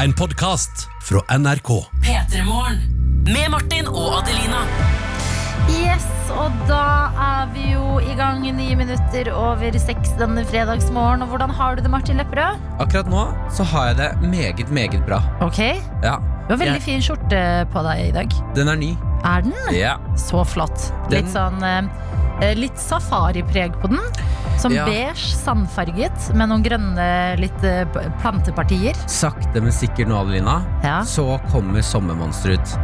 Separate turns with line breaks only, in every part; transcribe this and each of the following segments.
En podkast fra NRK.
P3morgen. Med Martin og Adelina.
Yes, og da er vi jo i gang ni minutter over seks denne fredagsmorgen. Og hvordan har du det, Martin Lepperød?
Akkurat nå så har jeg det meget, meget bra.
Ok,
Ja,
Du har veldig fin skjorte på deg i dag.
Den er ny.
Er den?
Ja.
Så flott.
Den-
Litt sånn eh, Litt safaripreg på den. Som
Ja.
beige, sandfarget, med noen grønne litt eh, p- plantepartier.
Sakte, men sikkert nå, Adelina,
Ja,
så kommer sommermonsteret ut.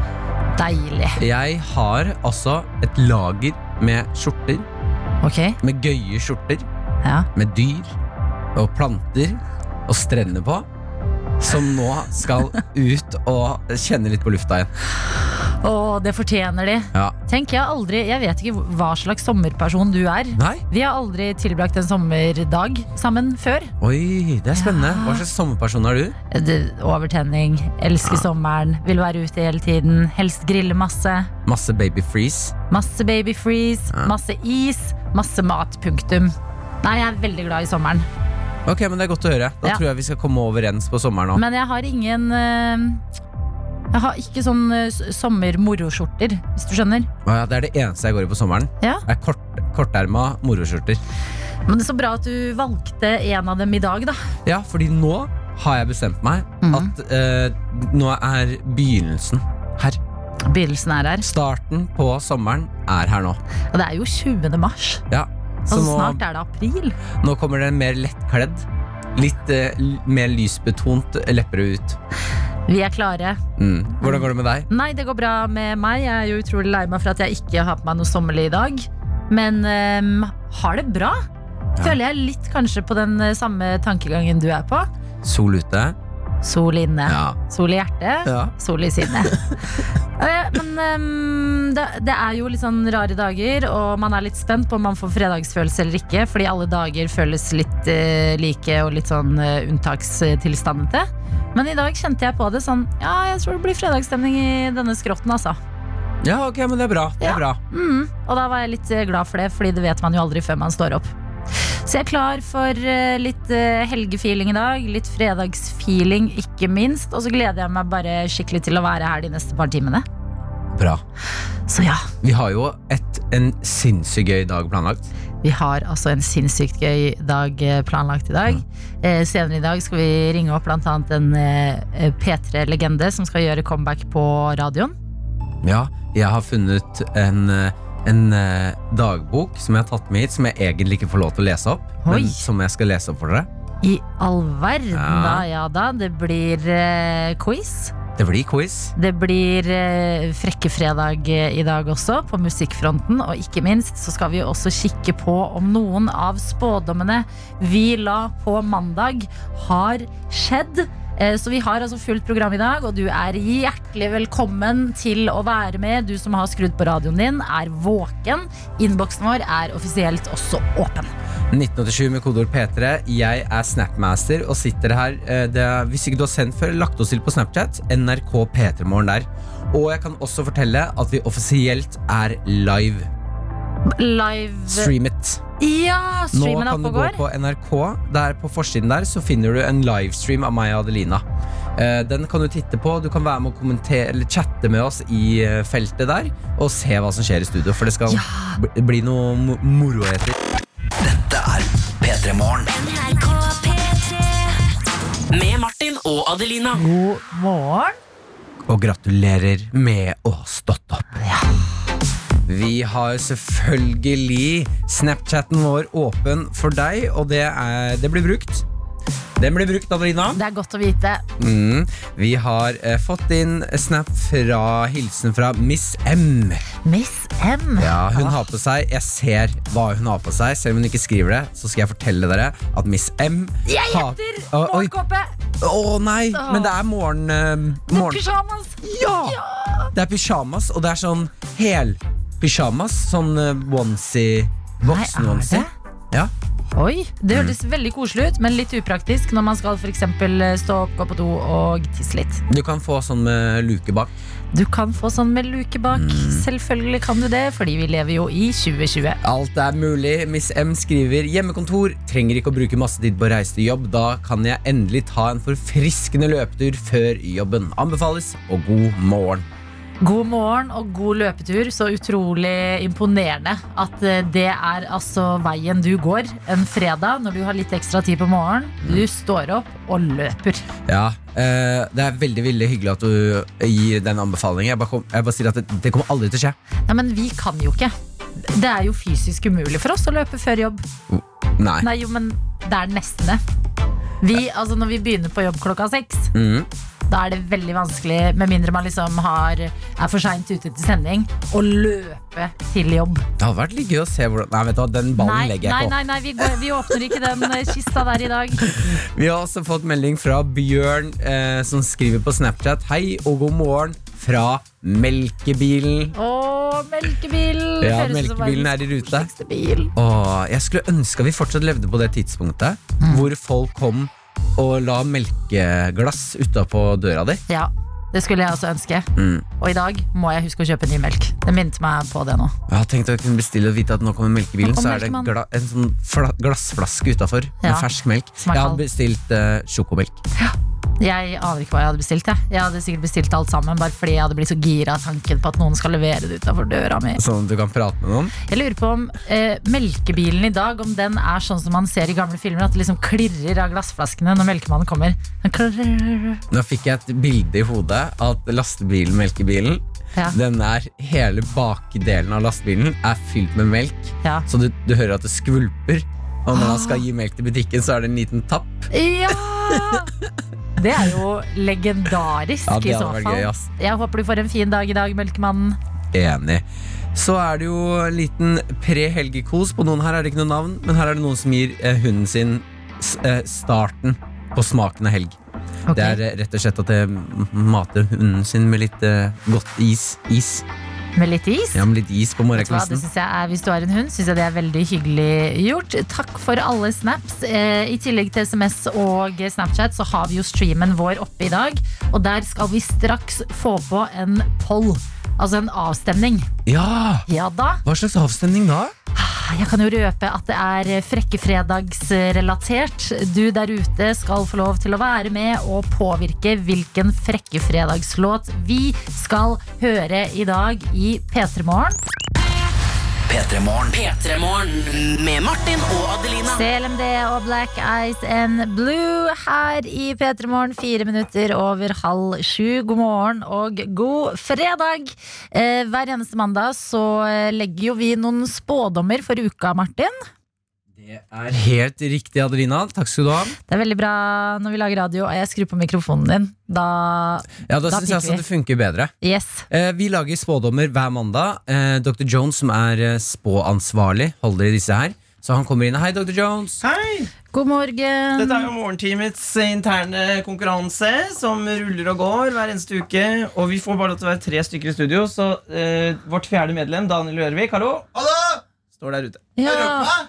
Deilig.
Jeg har altså et lager med skjorter.
Ok,
Med gøye skjorter.
ja.
Med dyr og planter og strender på. Som nå skal ut og kjenne litt på lufta igjen.
Å, det fortjener de.
Ja.
Tenk, jeg har aldri Jeg vet ikke hva slags sommerperson du er.
Nei?
Vi har aldri tilbrakt en sommerdag sammen før.
Oi, det er spennende. Hva slags sommerperson er du?
Det- Overtenning, elsker sommeren, vil være ute hele tiden, helst grille masse.
Masse baby freeze.
Masse baby freeze,
Ja.
masse is, masse mat, punktum. Nei, jeg er veldig glad i sommeren.
Ok, men Det er godt å høre. Da
Ja.
tror jeg vi skal komme overens på sommeren nå.
Men jeg har ingen eh, Jeg har ikke sånn eh, s- sommermoroskjorter, hvis du skjønner.
Å ja, det er det eneste jeg går i på sommeren.
Ja.
Det er kort, korterma moroskjorter.
Men det er så bra at du valgte en av dem i dag, da.
Ja, fordi nå har jeg bestemt meg
Mhm.
at eh, nå er begynnelsen her.
Begynnelsen er her.
Starten på sommeren er her nå.
Og det er jo 20. mars.
Ja. Så
Altså,
nå,
snart er det april.
nå kommer det en mer lettkledd, litt eh, l- mer lysbetont Lepperød ut.
Vi er klare.
Mm. Hvordan går det med deg?
Nei, det går bra med meg. Jeg er jo utrolig lei meg for at jeg ikke har på meg noe sommerlig i dag. Men ehm, har det bra.
Ja.
Føler jeg litt kanskje på den eh, samme tankegangen du er på.
Sol ute?
Sol inne,
Ja.
sol i hjertet,
ja.
sol i sinnet. Eh, Men ehm, det, det er jo litt sånn rare dager, og man er litt spent på om man får fredagsfølelse eller ikke. Fordi alle dager føles litt eh, like og litt sånn eh, unntakstilstandete. Men i dag kjente jeg på det sånn Ja, jeg tror det blir fredagsstemning i denne skrotten, altså.
Ja, ok, men det er bra. Det
Ja.
er bra.
Mm, og da var jeg litt eh, glad for det, fordi det vet man jo aldri før man står opp. Så jeg er klar for eh, litt eh, helgefeeling i dag, litt fredagsfeeling ikke minst. Og så gleder jeg meg bare skikkelig til å være her de neste par timene.
Bra.
Så ja,
Vi har jo et, en sinnssykt gøy dag planlagt.
vi har altså en sinnssykt gøy dag eh, planlagt i dag. Eh, senere i dag skal vi ringe opp blant annet en eh, P3-legende som skal gjøre comeback på radioen.
Ja, jeg har funnet en, eh, en eh, dagbok som jeg har tatt med hit, som jeg egentlig ikke får lov til å lese opp.
Oi.
Men som jeg skal lese opp for dere.
I all verden,
Ja.
da. Ja da. Det blir eh, quiz.
Det blir quiz.
Det blir eh, frekke fredag eh, i dag også, på musikkfronten. Og ikke minst så skal vi jo også kikke på om noen av spådommene vi la på mandag, har skjedd. Eh, Så vi har altså fullt program i dag, og du er hjertelig velkommen til å være med. Du som har skrudd på radioen din, er våken. Innboksen vår er offisielt også åpen.
1987 med kodeord P3. Jeg er Snapmaster og sitter her. eh, Det er, hvis ikke du har sendt før, lagt oss til på Snapchat. NRK P3morgen der. Og jeg kan også fortelle at vi offisielt er live.
Live
Stream it.
Ja,
Nå kan
streamen er
du
oppe og
gå
går.
på NRK. Der på forsiden der så finner du en livestream av meg og Adelina. Eh, Den kan du titte på. Du kan være med og kommentere Eller chatte med oss i eh, feltet der og se hva som skjer i studio, for det skal bli, bli noe mo- moro etter.
Med Martin og Adelina.
God morgen.
Og gratulerer med å ha stått opp. Vi har selvfølgelig Snapchatten vår åpen for deg, og det, er, det blir brukt. Den blir brukt, Adelina.
Det er godt å vite.
Mm. Vi har eh, fått inn snap fra hilsen fra Miss M.
Miss M.
Ja, hun har på seg Jeg ser hva hun har på seg. Selv om hun ikke skriver det, så skal jeg fortelle dere at Miss M
Jeg
har-
gjetter
Å, oi.
morgenkåpe!
Å nei!
Åh.
Men det er morgen... eh,
Det er
morgen.
pysjamas!
Ja! Det er pysjamas, og det er sånn hel pysjamas. Sånn eh, onesie.
Nei, er
Voksen-onesie.
det?
Ja.
Oi, Det hørtes veldig koselig ut, men litt upraktisk når man skal for eksempel eh, stå opp, gå på do og tisse litt.
Du kan få sånn med luke bak.
Du kan få sånn med luke bak.
Mm.
Selvfølgelig kan du det, fordi vi lever jo i 2020.
Alt er mulig. Miss M skriver hjemmekontor. Trenger ikke å bruke masse tid på å reise til jobb. Da kan jeg endelig ta en forfriskende løpetur før jobben. Anbefales, og god morgen.
God morgen og god løpetur. Så utrolig imponerende at eh, det er altså veien du går en fredag når du har litt ekstra tid på morgenen.
Mm.
Du står opp og løper.
Ja, eh, Det er veldig veldig hyggelig at du gir den anbefalingen. Jeg bare, kom, jeg bare sier at det, det kommer aldri til å skje.
Nei, men vi kan jo ikke. Det er jo fysisk umulig for oss å løpe før jobb.
Nei.
Nei, jo, men det er nesten det. Vi, altså når vi begynner på jobb klokka seks,
Mhm.
da er det veldig vanskelig, med mindre man liksom har, er for seint ute til sending, å løpe til jobb.
Det hadde vært litt gøy å se hvordan Nei, vet du hva, den ballen
Nei,
legger
nei,
jeg ikke
nei, nei vi, går, vi åpner ikke den eh, kista der i dag.
opp. Vi har også fått melding fra Bjørn, eh, som skriver på Snapchat Hei og god morgen fra Melkebilen.
Å, melkebilen!
Ja, melkebilen er i rute.
Høres ut som verdens bil.
Åh, jeg skulle ønske vi fortsatt levde på det tidspunktet
Mm.
hvor folk kom og la melkeglass utapå døra di.
Ja, det skulle jeg også ønske.
Mm.
Og i dag må jeg huske å kjøpe ny melk. Det minnet meg på det nå.
Jeg har tenkt å kunne bestille og vite at nå kommer melkebilen,
Nå kommer
så er det
melkemann.
gla en sånn fla glassflaske utafor med
Ja.
fersk melk.
Som er
Jeg hadde
kald.
bestilt eh, sjokomelk.
Jeg aner ikke hva jeg hadde bestilt. Jeg. jeg hadde sikkert bestilt alt sammen bare fordi jeg hadde blitt så gira av tanken på at noen skal levere det utafor døra mi.
Sånn at du kan prate med noen.
Jeg lurer på om eh, melkebilen i dag Om den er sånn som man ser i gamle filmer, at det liksom klirrer av glassflaskene når melkemannen kommer. Den klirrer.
Nå fikk jeg et bilde i hodet at lastebilen, melkebilen,
Ja,
den er hele bakdelen av lastebilen er fylt med melk.
ja. Ah.
Så du, du hører at det skvulper. Og når man skal gi melk til butikken, så er det en liten tapp.
ja! Det er jo legendarisk
Ja, det
i så
hadde vært
fall.
gøy, ass.
Jeg håper du får en fin dag i dag, melkemannen.
Enig. Så er det jo en liten pre-helgekos. På noen her er det ikke noe navn, men her er det noen som gir eh, hunden sin s eh, starten på smaken av helg.
Ok.
Det er eh, rett og slett at jeg m- mater hunden sin med litt eh, godt is. Is.
Med litt is.
Ja, med litt is på
Vet du hva, det
morgenkvisten.
synes jeg er, hvis du har en hund, syns jeg det er veldig hyggelig gjort. Takk for alle snaps. Eh, I tillegg til SMS og Snapchat så har vi jo streamen vår oppe i dag. Og der skal vi straks få på en poll. Altså en avstemning.
Ja!
Ja da.
Hva slags avstemning da?
Jeg kan jo røpe at det er frekke fredagsrelatert. Du der ute skal få lov til å være med og påvirke hvilken frekke fredagslåt vi skal høre i dag i P3 Morgen.
P3-morgen med Martin og Adelina.
CLMD og Black Eyes and Blue her i P3 Morgen. Fire minutter over halv sju. God morgen og god fredag! Eh, hver eneste mandag så eh, legger jo vi noen spådommer for uka, Martin.
Det er helt riktig, Adelina. Takk skal du ha.
Det er veldig bra når vi lager radio og jeg skrur på mikrofonen din. Da
Ja, Da,
Da
synes jeg
fikk
altså
vi.
det funker bedre.
Yes.
Eh, Vi lager spådommer hver mandag. Eh, Dr. Jones, som er eh, spåansvarlig, holder i disse her. Så han kommer inn. Hei, Dr. Jones.
Hei!
God morgen.
Dette er jo morgenteamets interne konkurranse, som ruller og går hver eneste uke. Og vi får bare lov til å være tre stykker i studio, så eh, vårt fjerde medlem, Daniel Rørvik, hallo,
Hallo!
står der ute.
Ja,
Hører dere meg?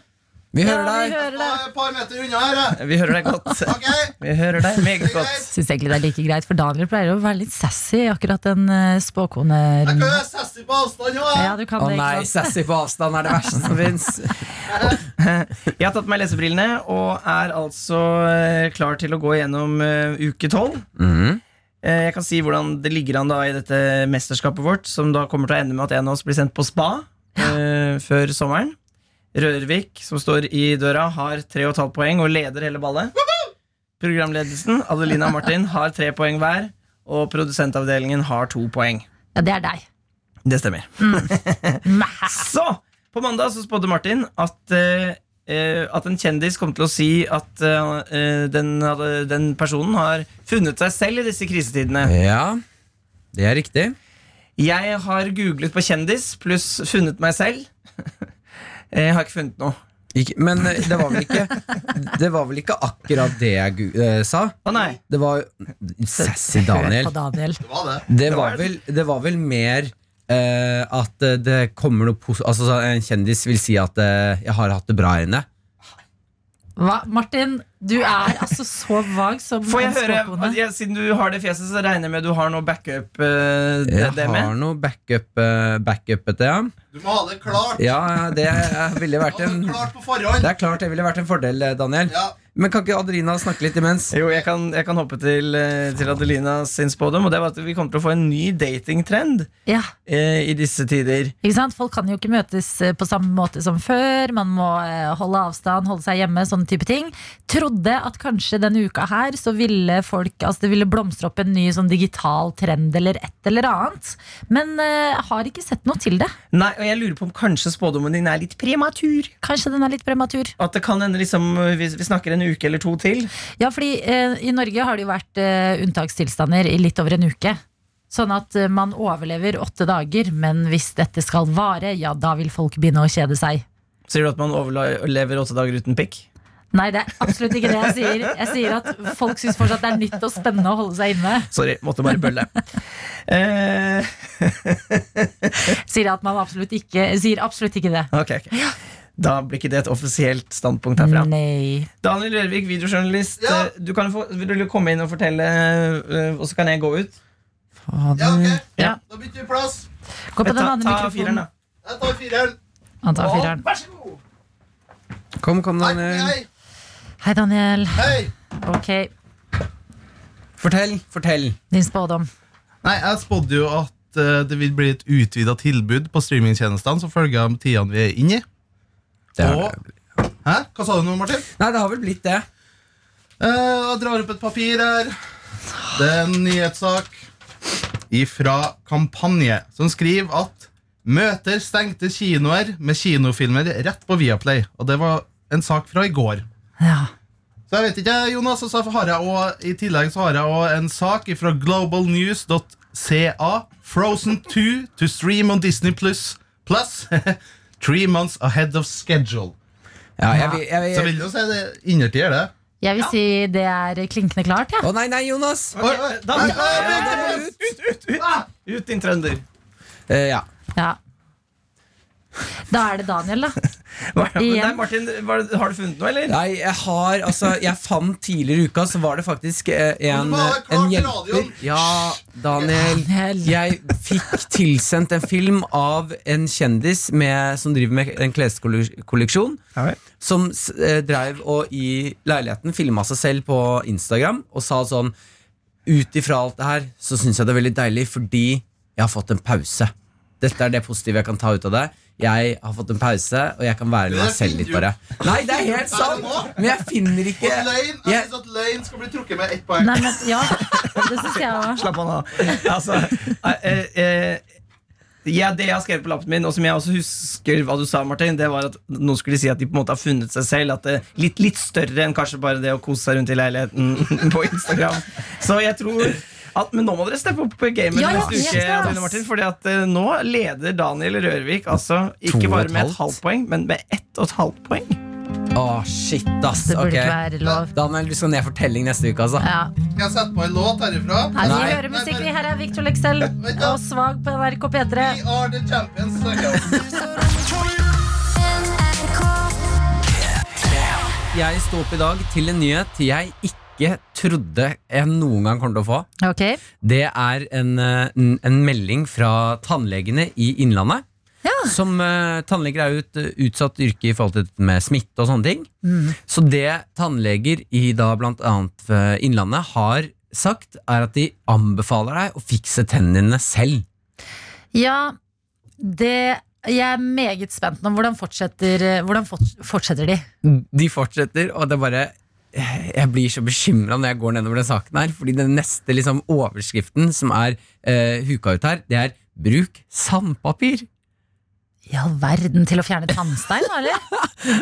Vi
ja,
hører deg.
vi hører
Jeg
deg.
er et par meter unna her, jeg.
Vi hører deg godt.
Ok,
Vi hører deg
det
meget
er
godt.
greit.
Syns egentlig det er like greit, for Daniel pleier å være litt sassy, akkurat den eh,
Jeg kan
spåkonerunden.
være sassy på avstand nå, jeg.
Ja, du kan
Å
det, ikke
nei,
sant?
sassy på avstand er det verste som fins.
Jeg har tatt på meg lesebrillene og er altså eh, klar til å gå gjennom eh, uke tolv. Eh, Jeg kan si hvordan det ligger an da i dette mesterskapet vårt, som da kommer til å ende med at en av oss blir sendt på spa eh, før sommeren. Rørvik, som står i døra, har tre og et halvt poeng og leder hele ballet. Programledelsen, Adelina og Martin, har tre poeng hver, og produsentavdelingen har to poeng.
Ja, det er deg.
Det stemmer. så, på mandag så spådde Martin at, eh, eh, at en kjendis kom til å si at eh, den, hadde- den personen har funnet seg selv i disse krisetidene.
Ja, det er riktig.
Jeg har googlet på kjendis pluss funnet meg selv. Eh, Jeg har ikke funnet noe.
Ikke, men eh, det var vel ikke Det var vel ikke akkurat det jeg gu- eh, sa?
Å nei,
Det var Sassy Daniel.
På Daniel.
Det var det.
Det var vel, det var vel mer eh, at eh, det kommer noe pos altså, så En kjendis vil si at eh, 'jeg har hatt det bra inne'.
Hva? Martin, du er altså så vag som
Får jeg
en
høre,
spåkone.
ja, Siden du har det fjeset, så regner jeg med du har noe backup eh, det,
Jeg
det
har
med?
noe backup, eh, backupete, ja.
Du må ha det klart.
Ja, det eh, ville
Ha
vært
det
en
klart på forhånd.
Det er klart det ville vært en fordel, eh, Daniel.
Ja.
Men kan ikke Adelina snakke litt imens?
Jo, jeg kan, jeg kan hoppe til, eh, til Adelina sin spådom. Og det var at vi kommer til å få en ny datingtrend
Ja,
eh, i disse tider.
ikke sant? Folk kan jo ikke møtes eh, på samme måte som før. Man må eh, holde avstand, holde seg hjemme, sånne type ting. Trodde at kanskje denne uka her så ville folk, altså det ville blomstre opp en ny sånn digital trend eller et eller annet. Men eh, har ikke sett noe til det.
Nei, og jeg lurer på om kanskje spådommen din er litt prematur.
Kanskje den er litt prematur.
At det kan hende liksom, vi, vi snakker en uke eller to til.
Ja, fordi eh, i Norge har det jo vært eh, unntakstilstander i litt over en uke. Sånn at eh, man overlever åtte dager, men hvis dette skal vare, ja, da vil folk begynne å kjede seg.
Sier du at man overlever åtte dager uten pikk?
Nei, det er absolutt ikke det jeg sier. Jeg sier at folk syns fortsatt det er nytt og spennende å holde seg inne.
Sorry, måtte bare bølle. eh,
Sier at man absolutt ikke sier absolutt ikke det.
ok, ok. Da blir ikke det et offisielt standpunkt herfra.
Nei.
Daniel Rørvik, videojournalist.
Ja.
eh, Du kan få, vil du komme inn og fortelle, eh, og så kan jeg gå ut?
Ja, ok.
Ja.
Da bytter vi plass.
Gå på
Eh,
den
Ta,
andre
ta
mikrofonen.
fireren, da.
Jeg tar fireren.
Han tar fireren.
Å, Vær så god.
Kom, kom,
Hei,
Daniel.
hei.
Hei, Daniel.
hei.
Ok,
Fortell, fortell.
din spådom.
Nei, jeg spådde jo at eh, det vil bli et utvida tilbud på streamingtjenestene som følge av tidene vi er inne i.
Det er
Og- Hæ? Hva sa du nå, Martin?
Nei, det har vel blitt det.
Eh, jeg drar opp et papir her. Det er en nyhetssak ifra Kampanje, som skriver at møter stengte kinoer med kinofilmer rett på Viaplay. Og det var en sak fra i går.
Ja.
Så jeg vet ikke, Jonas, og så har jeg også, I tillegg så har jeg også en sak fra globalnews.ca. Frozen 2 to stream on Disney Plus. Plus three months ahead of schedule.
Ja, jeg, vil- jeg,
Så
vil-
vil jo si det innertier, det.
Jeg vil si det er klinkende klart, jeg.
Å nei, nei, Jonas!
Oi, oi,
Da-
nei,
Ja,
nei,
da-
nei,
ut, ut, ut.
Ah!
Ut, din trønder.
Eh, ja.
Ja. ja. Da er det Daniel, da.
Hva-
Igjen.
Nei, Martin, var det- har du funnet noe, eller?
Nei, jeg har altså Jeg fant tidligere i uka, så var det faktisk eh,
Men
en,
du må ha klart
en hjelper
radioen.
Ja, Daniel.
Daniel.
Jeg fikk tilsendt en film av en kjendis med, som driver med en kleskolleksjon.
Ja, vel.
Som s- eh, dreiv og i leiligheten filma seg selv på Instagram og sa sånn Ut ifra alt det her så syns jeg det er veldig deilig fordi jeg har fått en pause. Dette er det positive jeg kan ta ut av det. Jeg har fått en pause, og jeg kan være
Det
meg
er
selv litt,
fint, jo.
bare. Nei, det er helt sant! Men jeg finner
Og
ikke
Lane, jeg
jeg,
synes at Lane skal bli trukket med ett poeng.
Nei, men, ja, det syns jeg òg.
Slapp av nå. Altså, eh, eh, ja, det jeg har skrevet på lappen min, og som jeg også husker hva du sa, Martin, det var at noen skulle si at de på en måte har funnet seg selv. At det er litt, litt større enn kanskje bare det å kose seg rundt i leiligheten på Instagram. Så jeg tror at, Men nå må dere steppe opp gamet
Ja, ja,
neste uke,
helt klart.
Adeline Martin, fordi at eh, nå leder Daniel Rørvik altså
To
ikke
og
bare
et
med et
halvt.
halvt poeng, men med ett og et halvt poeng.
Å, shit, ass.
Det burde
Ok.
ikke være lov.
Daniel, du skal ned for telling neste uke, altså.
Ja.
Skal jeg sette på en låt herifra?
Nei, vi
Nei.
hører musikk. vi. Her er Victor Lexell og Svag på NRK P3.
We are the champions. tenker jeg.
Jeg sto opp i dag til en nyhet jeg ikke trodde jeg noen gang kommer til å få.
Ok,
Det er en, eh, n- en melding fra tannlegene i Innlandet. Som eh, tannleger er jo et eh, utsatt yrke i forhold til dette med smitte og sånne ting. Så det tannleger i da blant annet eh, Innlandet har sagt, er at de anbefaler deg å fikse tennene dine selv.
Ja, det Jeg er meget spent nå. Hvordan fortsetter, hvordan forts- fortsetter de?
De fortsetter, og det er bare eh, jeg blir så bekymra når jeg går nedover den saken her, fordi den neste liksom, overskriften som er eh, huka ut her, det er 'bruk sandpapir'.
I all verden, til å fjerne tannstein, da, eller?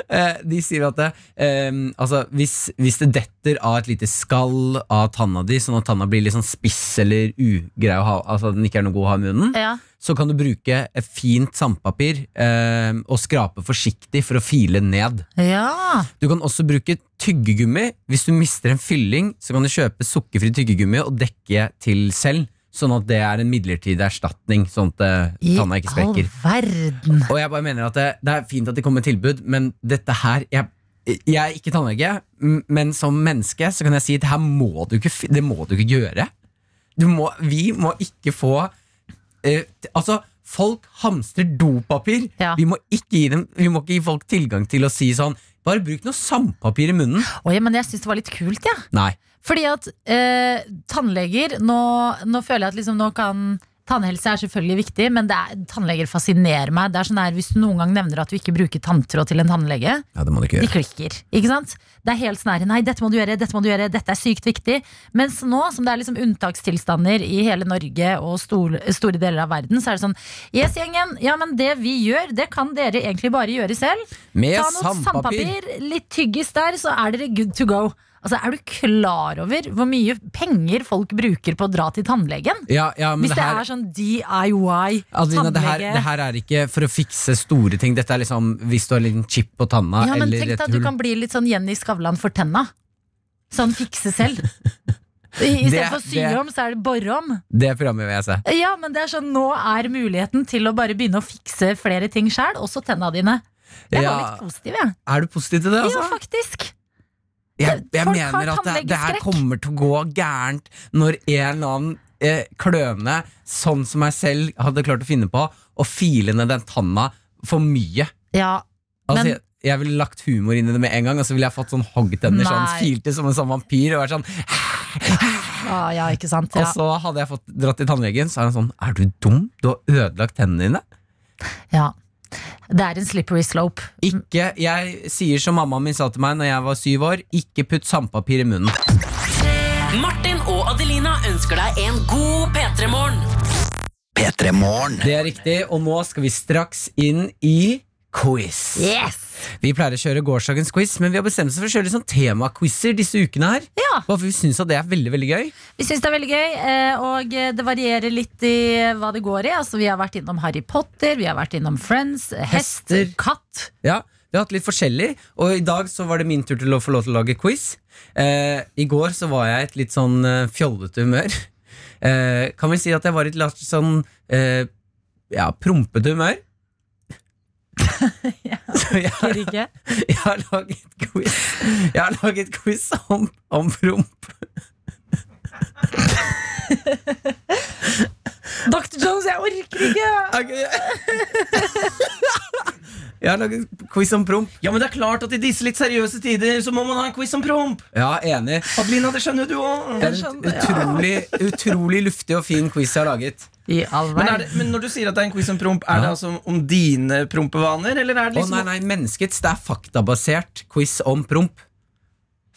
Eh, de sier at det, ehm, altså, hvis, hvis det detter av et lite skall av tanna di, sånn at tanna blir litt sånn spiss eller ugrei å ha, altså at den ikke er noe god å ha i munnen,
Ja.
så kan du bruke et fint sandpapir ehm, og skrape forsiktig for å file ned.
ja.
Du kan også bruke tyggegummi. Hvis du mister en fylling, så kan du kjøpe sukkerfri tyggegummi og dekke til selv, sånn at det er en midlertidig erstatning, sånn at eh,
I
tanna ikke
all
sprekker.
verden.
Og jeg bare mener at det, det er fint at de kommer med tilbud, men dette her jeg, Jeg er ikke tannlege, m- men som menneske så kan jeg si at her må du ikke, fi- det må du ikke gjøre. Du må, vi må ikke få eh, t- Altså, folk hamstrer dopapir.
Ja.
Vi, må ikke gi dem, vi må ikke gi folk tilgang til å si sånn Bare bruk noe sandpapir i munnen.
Oi, men jeg syns det var litt kult, jeg. Ja.
Nei.
Fordi at eh, tannleger nå, nå føler jeg at liksom nå kan Tannhelse er selvfølgelig viktig, men det er, tannleger fascinerer meg. Det er sånn der, Hvis du noen gang nevner at du ikke bruker tanntråd til en tannlege,
Ja, det må du ikke
de klikker. ikke sant? Det er helt sånn her Nei, dette må du gjøre, dette må du gjøre, dette er sykt viktig. Mens nå som det er liksom unntakstilstander i hele Norge og stor, store deler av verden, så er det sånn Yes, gjengen. Ja, men det vi gjør, det kan dere egentlig bare gjøre selv.
Med
Ta noe
sandpapir.
sandpapir, litt tyggis der, så er dere good to go. Altså, Er du klar over hvor mye penger folk bruker på å dra til tannlegen?
Ja, ja, men
Hvis
det
det
her,
er sånn DIY
Adelina, det, her, det
tannlege
her er ikke for å fikse store ting. Dette er liksom hvis du har en liten chip på tanna
Ja, men
eller
tenk deg
et
at du
hull.
kan bli litt sånn Jenny Skavlan for tenna. Sånn fikse selv. I-
Det-
Istedenfor sy
det-
om, så er det bore om.
Det programmet vil jeg se.
Ja, men det er sånn, nå er muligheten til å bare begynne å fikse flere ting sjæl, også tenna dine. Jeg var
Ja.
litt positiv, jeg.
Er du positiv til det?
Ja,
Altså?
faktisk.
Jeg, jeg
Folk har
mener at det, det her
tannlegeskrekk.
kommer til å gå gærent når en eller annen eh, kløne, sånn som jeg selv hadde klart å finne på, å file ned den tanna for mye.
Ja,
Altså,
Men-
jeg, jeg ville lagt humor inn i det med en gang, og så ville jeg fått sånn hoggtenner, sånn
Nei.
filte som en sånn vampyr, og vært sånn
ja, ja ikke sant.
Og
Ja.
så hadde jeg fått dratt til tannlegen, så er han sånn Er du dum? Du har ødelagt tennene dine.
ja. Det er en slippery slope.
Ikke, jeg sier som mammaen min sa til meg når jeg var syv år, ikke putt sandpapir i munnen.
Martin og Adelina ønsker deg en god P3-morgen.
Det er riktig, og nå skal vi straks inn i quiz.
Yes!
Vi pleier å kjøre gårsdagens quiz, men vi har bestemt oss for å kjøre litt sånn temaquizer disse ukene her.
Ja.
Bare for vi syns at det er veldig, veldig gøy.
Vi syns det er veldig gøy, eh, og eh, det varierer litt i hva det går i. Altså, vi har vært innom Harry Potter, vi har vært innom Friends, hest,
Hester.
katt.
Ja, Vi har hatt litt forskjellig, og i dag så var det min tur til å få lov til å lage quiz. Eh, I går så var jeg i et litt sånn eh, fjollete humør. Eh, kan vi si at jeg var i et litt sånn eh, ja, prompete humør? Så jeg,
Ikke rike.
jeg har laget quiz Jeg har laget quiz om, om promp.
Dr. Jones, jeg orker ikke!
Ok. Jeg har laget quiz om promp.
Ja, men det er klart at i disse litt seriøse tider så må man ha en quiz om promp!
Ja, enig.
Adelina, det skjønner jo du òg.
Det er sånn, en utrolig, utrolig luftig og fin quiz jeg har laget.
I all
Men, er
verden.
det, men når du sier at det er en quiz om promp, er det altså om dine prompevaner? Eller er det
Å
liksom
nei, nei, menneskets. Det er faktabasert quiz om promp.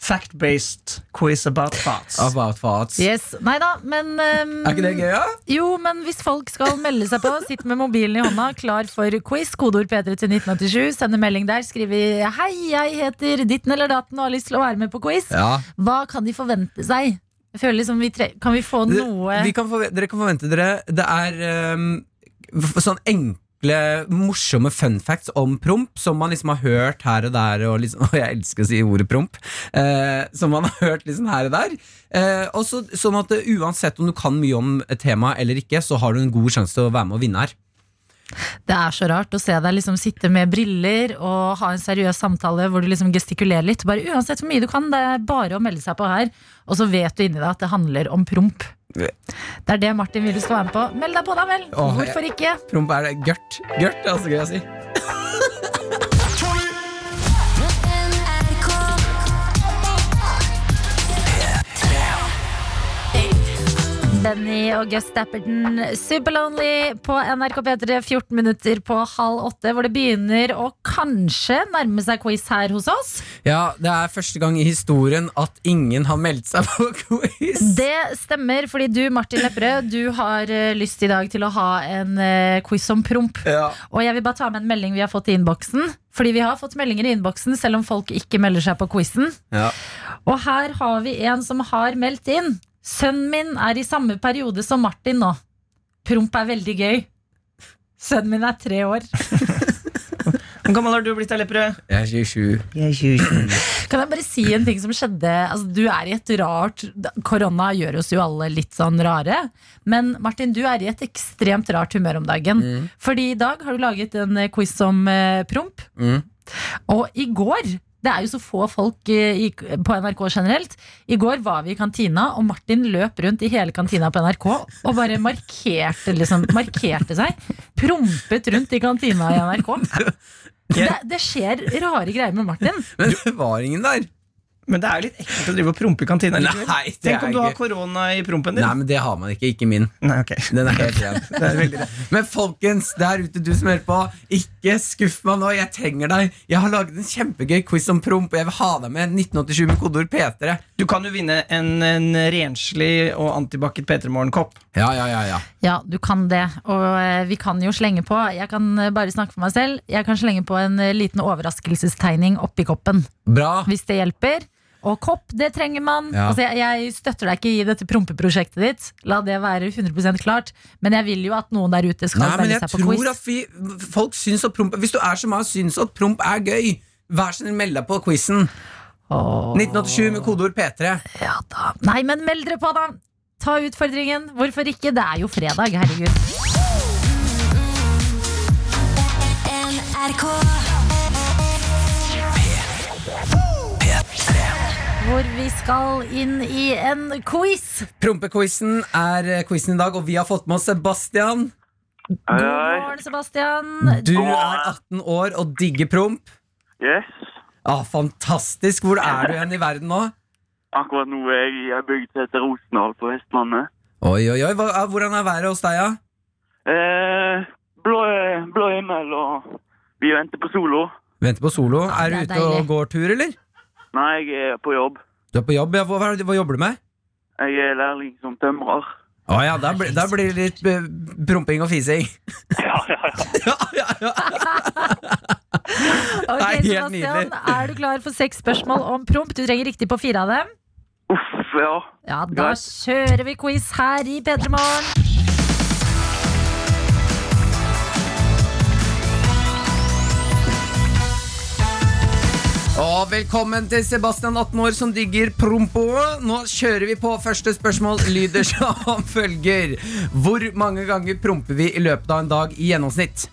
fact-based quiz about thoughts?
About thoughts.
Yes. Nei da, men ehm,
Er ikke det gøy, da?
Jo, men hvis folk skal melde seg på, sitt med mobilen i hånda, klar for quiz, kodeord P3 til 1987, sende melding der, skriv i 'Hei, jeg heter ditten eller datten og har lyst til å være med på quiz'.
Ja.
Hva kan de forvente seg? Jeg føler liksom vi tre Kan vi få
Det-
noe
Vi kan forve- dere kan forvente dere Det er ehm, f- sånn enkle, morsomme fun facts om promp som man liksom har hørt her og der, og, liksom, og jeg elsker å si ordet promp, eh, som man har hørt liksom her og der. Eh, og så, sånn at eh, uansett om du kan mye om temaet eller ikke, så har du en god sjanse til å være med og vinne her.
Det er så rart å se deg liksom sitte med briller og ha en seriøs samtale hvor du liksom gestikulerer litt. Bare Uansett hvor mye du kan, det er bare å melde seg på her. Og så vet du inni deg at det handler om promp. Det er det Martin vil du skal være med på. Meld deg på, da vel!
Åh, jeg-
Hvorfor ikke?
Promp er det gørt. Gørt er altså gøy å si.
Benny og Gus Dapperton, Superlonely på NRK P3, 14 minutter på halv åtte, hvor det begynner å kanskje nærme seg quiz her hos oss.
Ja, det er første gang i historien at ingen har meldt seg på quiz.
Det stemmer, fordi du, Martin Lepperød, du har eh, lyst i dag til å ha en eh, quiz om promp.
Ja.
Og jeg vil bare ta med en melding vi har fått i innboksen. Fordi vi har fått meldinger i innboksen selv om folk ikke melder seg på quizen.
Ja.
Og her har vi en som har meldt inn. Sønnen min er i samme periode som Martin nå. Promp er veldig gøy. Sønnen min er tre år.
Hvor gammel har du blitt, da, Lepperød?
Jeg er 27.
Kan jeg bare si en ting som skjedde? Altså, du er i et rart Korona gjør oss jo alle litt sånn rare. Men Martin, du er i et ekstremt rart humør om dagen. Fordi i dag har du laget en eh, quiz om eh, promp.
Mm.
Og i går Det er jo så få folk eh, i, på NRK generelt. I går var vi i kantina, og Martin løp rundt i hele kantina på NRK og bare markerte, liksom, markerte seg. Prompet rundt i kantina i NRK. Det, det skjer rare greier med Martin.
Men det var ingen der.
Men det er jo litt ekkelt å drive og prompe i kantina. likevel.
Nei, det
Tenk
er
om du har
ikke-
korona i prompen din.
Nei, men det har man ikke. Ikke min.
Nei, ok.
Den er helt ren.
Det er veldig rett.
Men folkens, der ute du som hører på, ikke skuff meg nå. Jeg trenger deg. Jeg har laget en kjempegøy quiz om promp, og jeg vil ha deg med. 1987 med kodeord P3.
Du kan jo vinne en, en renslig og antibakket P3 Morgen-kopp.
Ja, ja, ja, ja.
Ja, du kan det. Og eh, vi kan jo slenge på. Jeg kan eh, bare snakke for meg selv. Jeg kan slenge på en eh, liten overraskelsestegning oppi koppen.
Bra.
hvis det hjelper. Og kopp, det trenger man.
Ja.
Altså, jeg, jeg støtter deg ikke i dette prompeprosjektet ditt. La det være 100 klart. Men jeg vil jo at noen der ute skal
Nei, men
melde
jeg
seg på quiz.
tror at vi, folk syns at promp Hvis du er som meg og syns at promp er gøy, vær så snill meld deg på quizen.
Åh,
1987 med kodeord P3.
ja da. Nei, men meld dere på, da! Ta utfordringen. Hvorfor ikke? Det er jo fredag, herregud.
NRK.
Hvor vi skal inn i en quiz.
Prompequizen er quizen i dag, og vi har fått med oss Sebastian.
Hei,
God
hei. Mm,
morgen, Sebastian.
Du er 18 år og digger promp.
Yes.
Ah, fantastisk! Hvor er du hen i verden nå?
Akkurat nå er jeg i en bygd som heter Rosendal på Vestlandet.
Oi, oi, oi, hva- ah, Hvordan er været hos deg, da?
Eh, blå, blå himmel, og vi venter på solo.
Venter på solo. er du
det er
ute og
deilig.
går tur, eller?
Nei, jeg er på jobb.
Du er på jobb, ja. Hva, hva, er det- hva jobber du med?
Jeg er lærling som tømrer.
Å ja, der, blir- der blir det litt eh, promping og fising.
Ja, ja, ja.
ja, ja, ja. Det
Ok,
er helt
Sebastian,
nydelig.
er du klar for seks spørsmål om promp? Du trenger riktig på fire av dem.
Uff, ja.
Ja, da
Greit.
kjører vi quiz her i P3 Morgen.
Og velkommen til Sebastian, 18 år, som digger prompo. Nå kjører vi på. Første spørsmål lyder som følger. Hvor mange ganger promper vi i løpet av en dag i gjennomsnitt?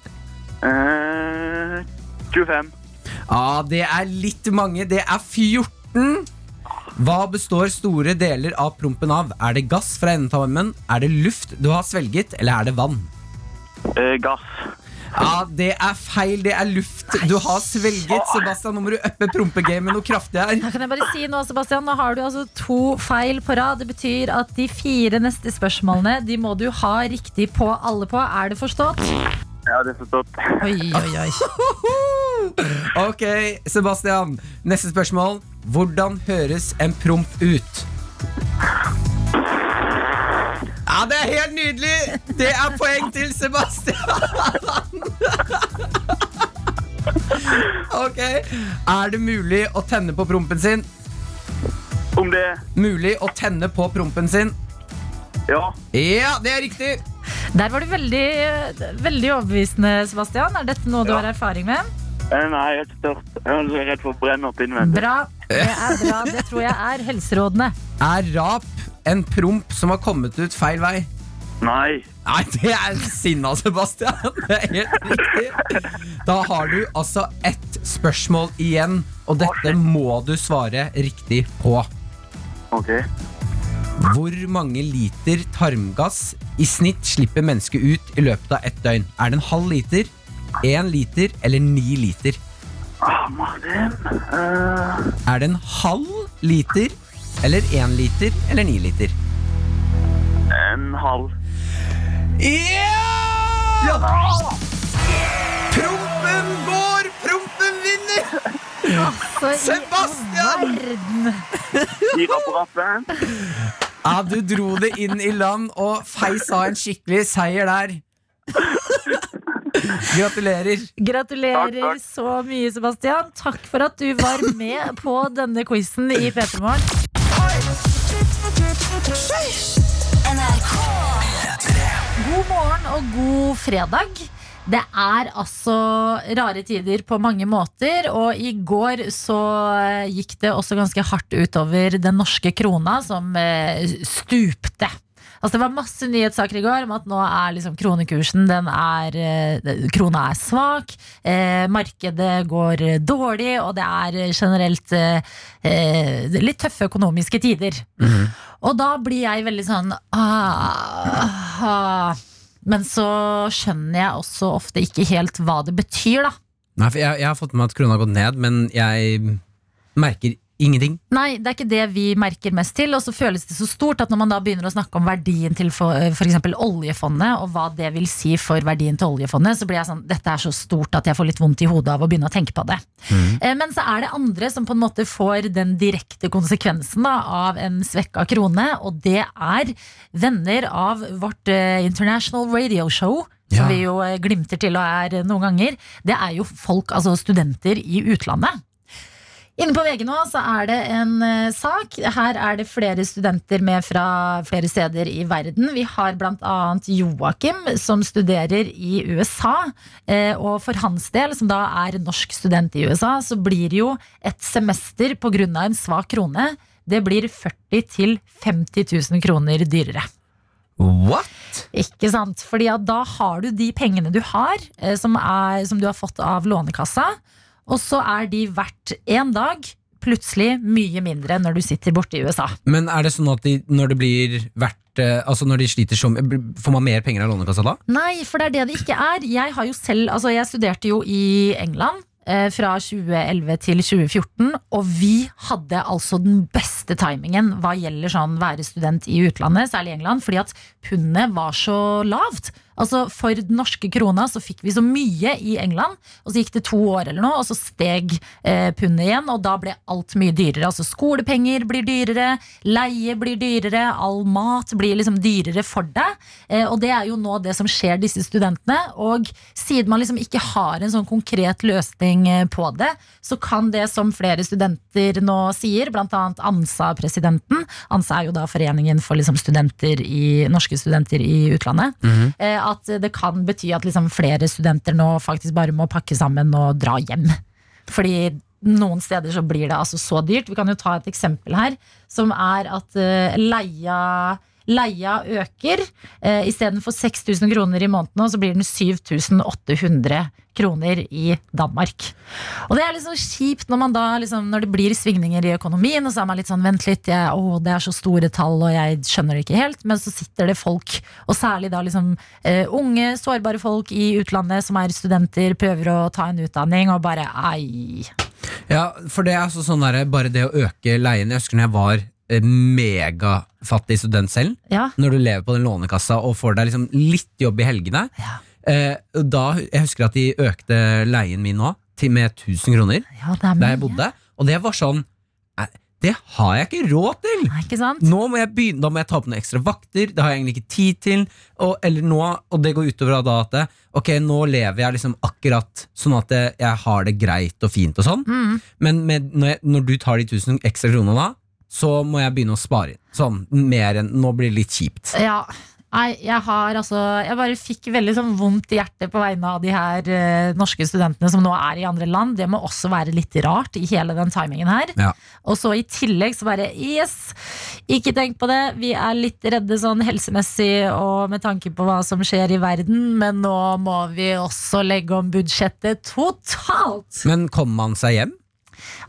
Eh, 25.
Ja, det er litt mange. Det er 14. Hva består store deler av prompen av? Er det gass fra endetarmen? Er det luft du har svelget, eller er det vann?
Eh, gass.
Ja, det er feil. Det er luft du har svelget. Sebastian, nå må du uppe prompegamet noe kraftig her.
Her kan jeg bare si noe, Sebastian. Nå har du altså to feil på rad. Det betyr at de fire neste spørsmålene De må du ha riktig på alle på. Er det forstått?
Ja, det er forstått.
Oi, oi, oi.
Ok, Sebastian. Neste spørsmål. Hvordan høres en promp ut? Ja, det er helt nydelig! Det er poeng til Sebastian! Ok. Er det mulig å tenne på prompen sin?
Om det
Mulig å tenne på prompen sin?
Ja.
Ja, det er riktig!
Der var du veldig, veldig overbevisende, Sebastian. Er dette noe du
Ja.
har erfaring med?
Eh, Nei, jeg er ikke tørt. Jeg er altså redd for å brenne opp innvendig.
Bra. Det er bra. Det tror jeg er helserådene.
Er rap en promp som har kommet ut feil vei?
Nei.
Nei, det er sinna, Sebastian. Det er helt riktig. Da har du altså ett spørsmål igjen, og dette må du svare riktig på.
Ok.
Hvor mange liter tarmgass i snitt slipper mennesket ut i løpet av ett døgn? Er det en halv liter, én liter eller ni liter?
Ah, Martin. Eh,
Er det en halv liter eller én liter eller ni liter?
en halv.
Ja! Prompen går, prompen vinner!
Så i
Sebastian!
verden.
Fire på rappen.
Ja, du dro det inn i land og feis av en skikkelig seier der. Gratulerer.
Gratulerer
Takk, takk.
så mye, Sebastian. Takk for at du var med på denne quizen i P3 Morgen.
NRK.
God morgen og god fredag. Det er altså rare tider på mange måter, og i går så eh, gikk det også ganske hardt utover den norske krona, som eh, stupte. Altså Det var masse nyhetssaker i går om at nå er liksom kronekursen den er, eh, Krona er svak, eh, markedet går eh, dårlig, og det er generelt eh, eh, litt tøffe økonomiske tider. Og da blir jeg veldig sånn ah, ah. Men så skjønner jeg også ofte ikke helt hva det betyr, da.
Nei, for jeg, jeg har fått med meg at krona har gått ned, men jeg merker ingenting.
Nei, det er ikke det vi merker mest til. Og så føles det så stort at når man da begynner å snakke om verdien til f.eks. oljefondet, og hva det vil si for verdien til oljefondet, så blir jeg sånn Dette er så stort at jeg får litt vondt i hodet av å begynne å tenke på det. Eh, Men så er det andre som på en måte får den direkte konsekvensen da, av en svekka krone, og det er venner av vårt eh, International Radio Show.
Ja.
Som vi jo eh, glimter til og er eh, noen ganger. Det er jo folk, altså studenter i utlandet. Inne på VG nå så er det en eh, sak. Her er det flere studenter med fra flere steder i verden. Vi har bl.a. Joakim, som studerer i USA. Eh, og for hans del, som da er norsk student i USA, så blir jo et semester pga. en svak krone det blir 40 000-50 000 kroner dyrere.
What?
Ikke sant? Fordi at da har du de pengene du har, eh, som, er, som du har fått av Lånekassa, og så er de verdt én dag plutselig mye mindre når du sitter borte i USA.
Men er det sånn at de, når det blir verdt eh, Altså når de sliter som Får man mer penger av Lånekassa da?
Nei, for det er det det ikke er. Jeg har jo selv, altså jeg studerte jo i England eh, fra 2011 til 2014, og vi hadde altså den beste timingen hva gjelder sånn være student i utlandet, særlig i England, fordi at pundet var så lavt. Altså For den norske krona så fikk vi så mye i England, og så gikk det to år eller noe, og så steg eh, pundet igjen, og da ble alt mye dyrere. Altså Skolepenger blir dyrere, leie blir dyrere, all mat blir liksom dyrere for deg. Eh, og det er jo nå det som skjer disse studentene. Og siden man liksom ikke har en sånn konkret løsning eh, på det, så kan det som flere studenter nå sier, bl.a. ANSA-presidenten ANSA er jo da foreningen for liksom studenter i, norske studenter i utlandet. eh, at det kan bety at liksom flere studenter nå faktisk bare må pakke sammen og dra hjem. Fordi noen steder så blir det altså så dyrt. Vi kan jo ta et eksempel her, som er at eh, leia Leia øker. Eh, Istedenfor 6000 kroner i måneden nå, så blir den 7800 kroner i Danmark. Og det er liksom kjipt når, man da, liksom, når det blir svingninger i økonomien, og så er man litt sånn vent litt, jeg, å, det er så store tall, og jeg skjønner det ikke helt. Men så sitter det folk, og særlig da liksom eh, unge, sårbare folk i utlandet som er studenter, prøver å ta en utdanning, og bare ei.
Ja, for det er altså sånn der, bare det å øke leien Jeg husker når jeg var eh, megafattig student selv.
Ja.
Når du lever på den lånekassa og får deg liksom litt jobb i helgene. Eh, da, jeg husker at de økte leien min nå til, med 1000 kroner
ja, det er
der jeg
mye.
bodde. Og det var sånn nei, Det har jeg ikke råd til!
Nei, ikke sant?
Nå må jeg begynne, da må jeg ta på noen ekstra vakter, det har jeg egentlig ikke tid til. Og, eller nå, og det går utover da at det, ok, nå lever jeg liksom akkurat sånn at jeg, jeg har det greit og fint og sånn.
Mm.
Men med, når, jeg, når du tar de 1000 ekstra kronene da, så må jeg begynne å spare inn. Sånn, mer enn, nå blir det litt kjipt.
Ja. Nei, jeg har altså Jeg bare fikk veldig sånn vondt i hjertet på vegne av de her eh, norske studentene som nå er i andre land. Det må også være litt rart i hele den timingen her.
Ja.
Og så i tillegg så bare Yes! Ikke tenk på det. Vi er litt redde sånn helsemessig og med tanke på hva som skjer i verden, men nå må vi også legge om budsjettet totalt!
Men kommer man seg hjem?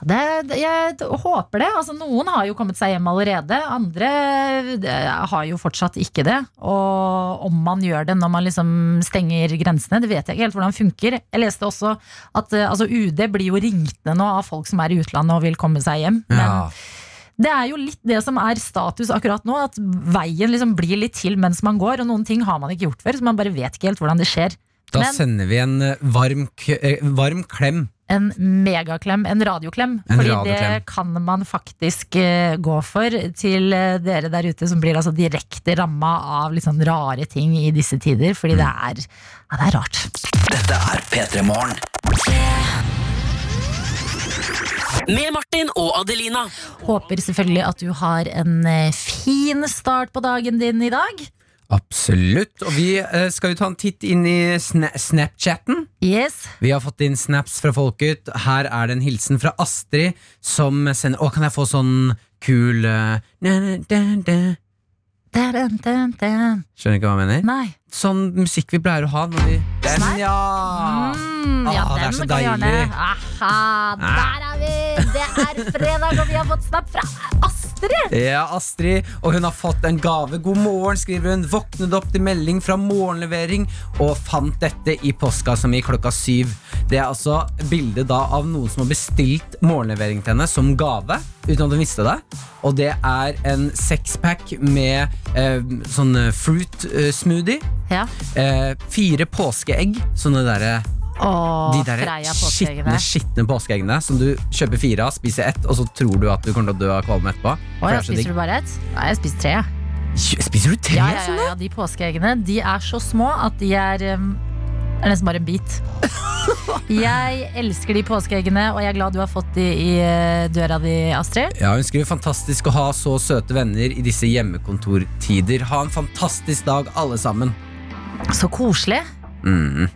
Det, det- jeg t- håper det. Altså, noen har jo kommet seg hjem allerede. Andre eh, har jo fortsatt ikke det. Og om man gjør det når man liksom stenger grensene, det vet jeg ikke helt hvordan funker. Jeg leste også at eh, altså, UD blir jo ringtende nå av folk som er i utlandet og vil komme seg hjem. Men
Ja.
det er jo litt det som er status akkurat nå, at veien liksom blir litt til mens man går. Og noen ting har man ikke gjort før, så man bare vet ikke helt hvordan det skjer.
Da
Men-
sender vi en eh, varm, k eh, varm klem.
en megaklem, en radioklem.
En
fordi
radioklem.
det kan man faktisk eh, gå for til eh, dere der ute som blir altså direkte ramma av litt sånn rare ting i disse tider. Fordi det,
Mm.
er, ja, det er rart.
Med Martin og Adelina.
Håper selvfølgelig at du har en eh, fin start på dagen din i dag.
Absolutt. Og vi eh, skal jo ta en titt inn i sna Snapchatten.
Yes.
Vi har fått inn snaps fra folket. Her er det en hilsen fra Astrid som sender Å, kan jeg få sånn kul eh, na, na, da, da,
Dun, dun, dun.
Skjønner ikke hva jeg mener?
Nei.
Sånn musikk vi pleier å ha når vi Den, ja!
Mm, ja,
Ah, det er
den
så
kan vi gjerne.
deilig. Ah.
Aha, der er vi! Det er fredag, og vi har fått snap fra Astrid.
Ja, Astrid, og hun har fått en gave. God morgen, skriver hun. Våknet opp til melding fra morgenlevering og fant dette i postkassa mi klokka syv. Det er altså bilde da av noen som har bestilt morgenlevering til henne som gave. Uten at hun visste det. Og det er en sexpack med eh, sånn eh, fruit eh, smoothie.
Ja.
Eh, fire påskeegg. Sånne derre
Å,
de der
Freia
skitne,
påskeeggene.
skitne påskeeggene som du kjøper fire av, spiser ett, og så tror du at du kommer til å dø av kvalme etterpå. For
Å,
det
ja,
er så digg.
spiser du bare ett? Nei, jeg spiser tre. jeg.
Spiser du tre?
Ja, ja, ja, ja, de påskeeggene De er så små at de er um, Er nesten bare en bit Jeg elsker de påskeeggene Og jeg er glad du har fått de i eh, døra di, Astrid
Ja, Hun skriver fantastisk å ha så søte venner i disse hjemmekontortider. Ha en fantastisk dag, alle sammen.
Så koselig
Mm.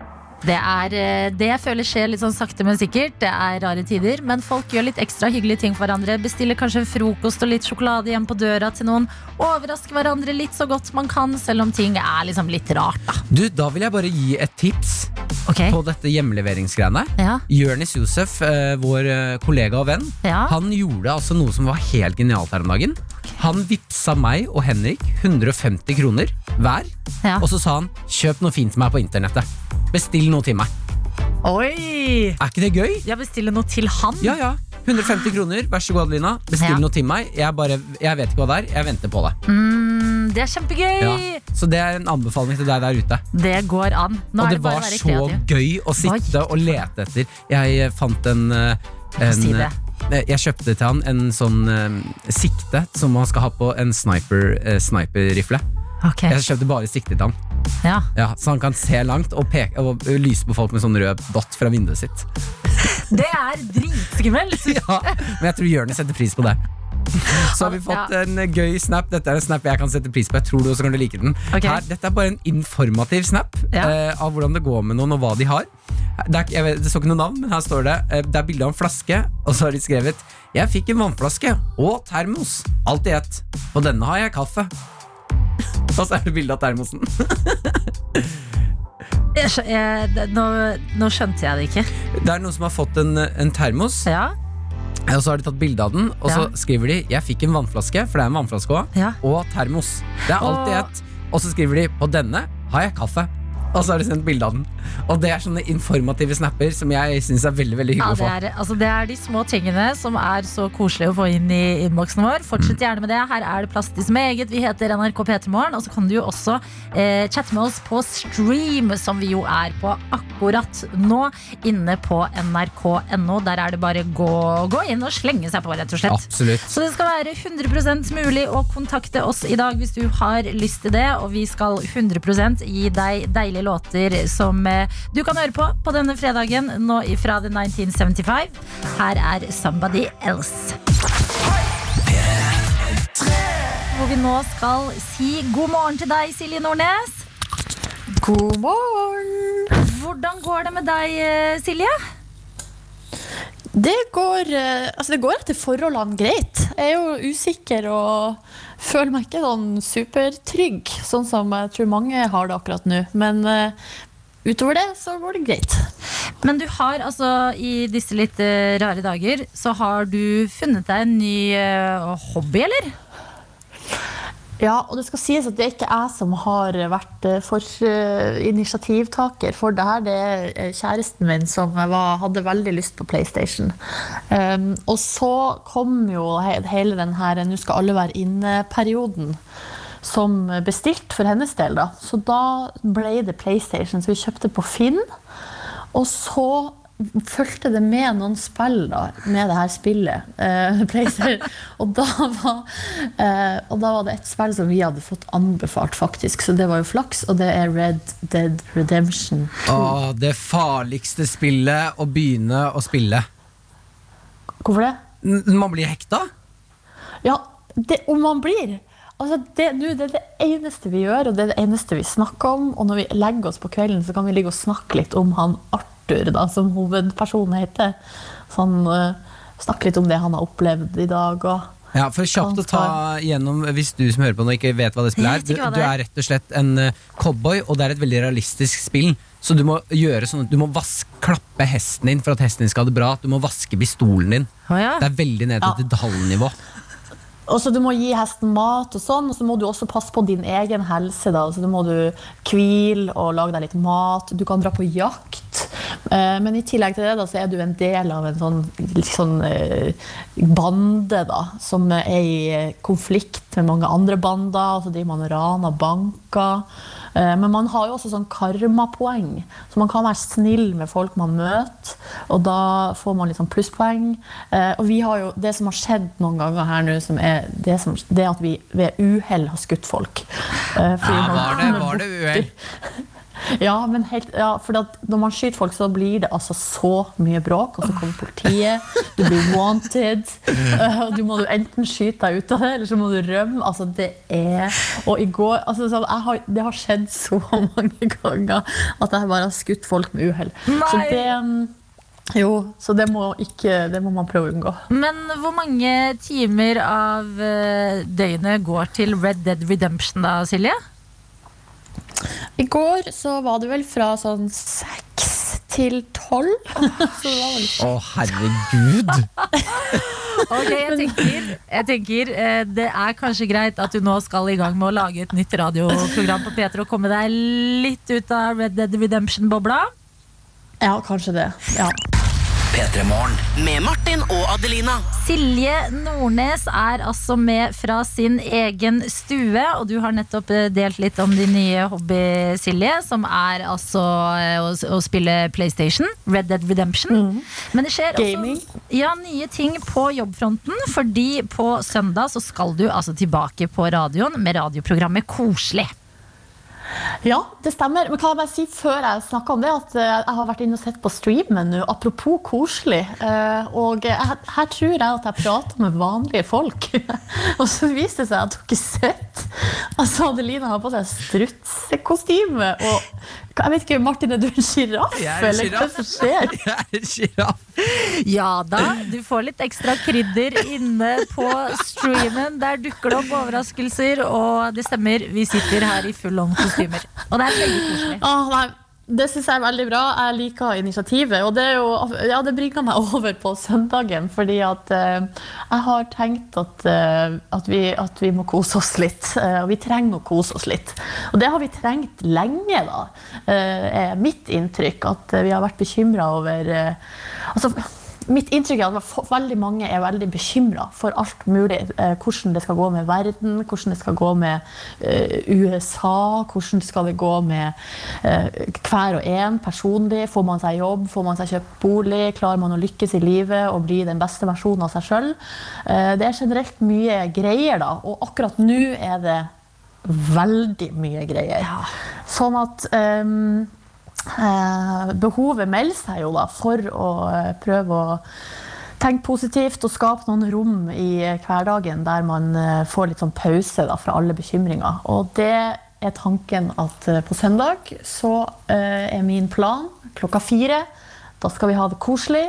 det, er, eh, det jeg føler skjer litt sånn sakte men sikkert Det er rare tider Men folk gjør litt ekstra hyggelige ting for hverandre Bestiller kanskje en frokost og litt sjokolade hjem på døra til noen Overrasker hverandre litt så godt man kan Selv om ting er liksom litt rart da
Du, Da vil jeg bare gi et tips
Ok,
på dette hjemleveringsgreiene.
ja,
Jørnis Josef, eh, vår eh, kollega og venn,
ja
han gjorde altså noe som var helt genialt her om dagen. Han vippsa meg og Henrik 150 kroner hver,
Ja.
og så sa han 'kjøp noe fint til meg på internettet'. Bestill noe til meg.
Oi,
Er ikke det gøy?
jeg bestiller noe til han
Ja, ja. 150 kroner, vær så god, Adelina. Bestill
Ja.
noe til meg. Jeg, bare, jeg vet ikke hva det er, jeg venter på det.
Mm, det er kjempegøy!
Ja. Så det er en anbefaling til deg der ute.
Det går an. Nå
og
er
det
det
var
bare å være
så
kreativ.
gøy å sitte og lete etter. Jeg eh, fant en, eh, en
si det.
eh, Jeg kjøpte til han en sånn eh, sikte som man skal ha på en sniper, eh, sniperrifle.
Ok,
Jeg kjøpte bare sikte til han,
ja.
ja, så han kan se langt og, peke, og lyse på folk med sånn rød dott fra vinduet sitt.
Det er dritskummelt!
Ja, men jeg tror Jørnis setter pris på det. Så har vi fått
Ja.
en eh, gøy snap. Dette er en snap jeg kan sette pris på. Jeg tror du også kommer til å like den.
Ok.
Her, dette er bare en informativ snap
Ja.
eh, av hvordan det går med noen og hva de har. Det, er, ikke- jeg vet, det står ikke noe navn, men her står det eh, Det er bilde av en flaske, og så har de skrevet 'Jeg fikk en vannflaske og termos. Alt i ett. På denne har jeg kaffe'. Og så er det bilde av termosen.
Jeg skjø- jeg, det- nå, nå skjønte jeg det ikke.
Det er noen som har fått en, en termos,
Ja,
og så har de tatt bilde av den, og så
Ja.
skriver de 'Jeg fikk en vannflaske', for det er en vannflaske òg.
ja.
og termos. Det er alltid
Åh.
ett. Og så skriver de 'på denne har jeg kaffe'. Og så har de sendt bilde av den. Og det er sånne informative snapper som jeg syns er veldig veldig
Ja,
hyggelig å
det,
få.
er, altså det er de små tingene som er så koselige å få inn i innboksen vår. Fortsett gjerne med det. Her er det plass til som eget. Vi heter NRK P3morgen. Og så kan du jo også eh, chatte med oss på stream, som vi jo er på akkurat nå. Inne på nrk.no. Der er det bare gå, gå inn og slenge seg på, rett og slett.
Absolutt.
Så det skal være 100 mulig å kontakte oss i dag hvis du har lyst til det. Og vi skal 100 gi deg deilige låter som eh, du kan høre på på denne fredagen. Nå fra The 1975. Her er Somebody Else. Hvor vi nå skal si god morgen til deg, Silje Nordnes.
God morgen!
Hvordan går det med deg, eh, Silje?
Det går, eh, altså det går etter forholdene greit. Jeg er jo usikker og føler meg ikke sånn supertrygg, sånn som jeg tror mange har det akkurat nå. Men eh, utover det så går det greit.
Men du har altså i disse litt eh, rare dager, så har du funnet deg en ny eh, hobby, eller?
Ja, og det skal sies at det er ikke jeg som har vært eh, for eh, initiativtaker for det her. Det er eh, kjæresten min som var, hadde veldig lyst på PlayStation. Um, og så kom jo he- hele den her eh, 'nå skal alle være inne'-perioden som bestilt for hennes del. da. Så da ble det PlayStation, så vi kjøpte på Finn. Og så fulgte det med noen spill da, med det her spillet. eh, PlayStation. og, da var, eh, og da var det et spill som vi hadde fått anbefalt, faktisk. Så det var jo flaks, og det er Red Dead Redemption.
Å, det farligste spillet å begynne å spille.
Hvorfor det?
N- Man blir hekta.
Ja, det, om man blir. Altså, det, nå, det er det eneste vi gjør, og det er det eneste vi snakker om. Og når vi legger oss på kvelden, så kan vi ligge og snakke litt om han Arthur, da, som Sånn, hovedpersonen heter. Så han eh, snakker litt om det han har opplevd i dag. Og,
Ja, for kjapt å ta gjennom Hvis du som hører på nå ikke vet hva det spillet er
Jeg vet
du,
ikke hva det
du
er.
er rett og slett en eh, cowboy Og det er et veldig realistisk spill Så du må gjøre sånn at Du må vask, klappe hesten din For at hesten din skal ha det bra Du må vaske pistolen din
Å ja.
Det er veldig ned til detaljnivå
Og så Du må gi hesten mat, og sånn, og så må du også passe på din egen helse. da. Så Du må du hvile og lage deg litt mat. Du kan dra på jakt. Eh, Men i tillegg til det da, så er du en del av en sånn, litt sånn eh, bande da, som er i eh, konflikt med mange andre bander. og Så driver altså man og raner banker. Eh, Men man har jo også sånn karmapoeng, så man kan være snill med folk man møter. Og da får man litt sånn plusspoeng. Eh, Og vi har jo det som har skjedd noen ganger her nå, som er det, som, det at vi ved uhell har skutt folk. Eh, fordi man
var det-
kommer
var det
borti- Ja, men helt, ja, for at når man skyter folk, så blir det altså så mye bråk. Og så kommer politiet, du blir wanted. eh, Og du må jo enten skyte deg ut av det, eller så må du rømme. Altså, det er Og i går altså, sånn, jeg har, Det har skjedd så mange ganger at jeg bare har skutt folk med uhell. Så
Nei!
det mm, Jo, så det må, ikke, det må man prøve å unngå.
Men hvor mange timer av eh, døgnet går til Red Dead Redemption da, Silje?
I går så var det vel fra sånn seks til tolv. Så det var vel
Å herregud
Ok, jeg tenker, jeg tenker eh, Det er kanskje greit at du nå skal i gang med å lage et nytt radioprogram på P3 og komme deg litt ut av Red Dead Redemption-bobla.
Ja, kanskje det. Ja.
Med Martin og Adelina.
Silje Nordnes er altså med fra sin egen stue, og du har nettopp eh, delt litt om din nye hobby, Silje, som er altså eh, å, å spille PlayStation, Red Dead Redemption. Men det skjer
Gaming.
også ja, nye ting på jobbfronten, fordi på søndag så skal du altså tilbake på radioen med radioprogrammet Koselig.
Ja, det stemmer. Men kan jeg bare si før jeg snakker om det, at eh, jeg har vært inne og sett på streamen nå, apropos koselig. Eh, Og eh, her her tror jeg at jeg prater med vanlige folk. Og så viste det seg at dere sett. Altså, Adelina har på seg strutsekostyme, og jeg vet ikke, Martin, er du en sjiraff?
Jeg er en
Eller hva
giraff.
som skjer?
Jeg er en giraff
Ja da, du får litt ekstra krydder inne på streamen. Der dukker det opp overraskelser, og det stemmer, vi sitter her i full on kostymer. Og det er veldig koselig.
Åh, nei, det syns jeg er veldig bra. Jeg liker initiativet. Og det, er jo, ja, det bringer meg over på søndagen, fordi at eh, jeg har tenkt at, eh, at, vi, at vi må kose oss litt. eh, og vi trenger å kose oss litt. Og det har vi trengt lenge, da. eh, er mitt inntrykk at eh, vi har vært bekymra over eh, altså, Mitt inntrykk er at fo- veldig mange er veldig bekymra for alt mulig. Eh, Hvordan det skal gå med verden, hvordan det skal gå med eh, USA, hvordan skal det gå med eh, hver og en personlig. Får man seg jobb, får man seg kjøpt bolig, klarer man å lykkes i livet og bli den beste versjonen av seg sjøl. Det er generelt mye greier, da. Og akkurat nå er det veldig mye greier. Sånn at ehm, Eh, behovet melder seg jo da for å eh, prøve å tenke positivt og skape noen rom i eh, hverdagen der man eh, får litt sånn pause da fra alle bekymringer. Og det er tanken at eh, på søndag så eh, er min plan klokka fire. Da skal vi ha det koselig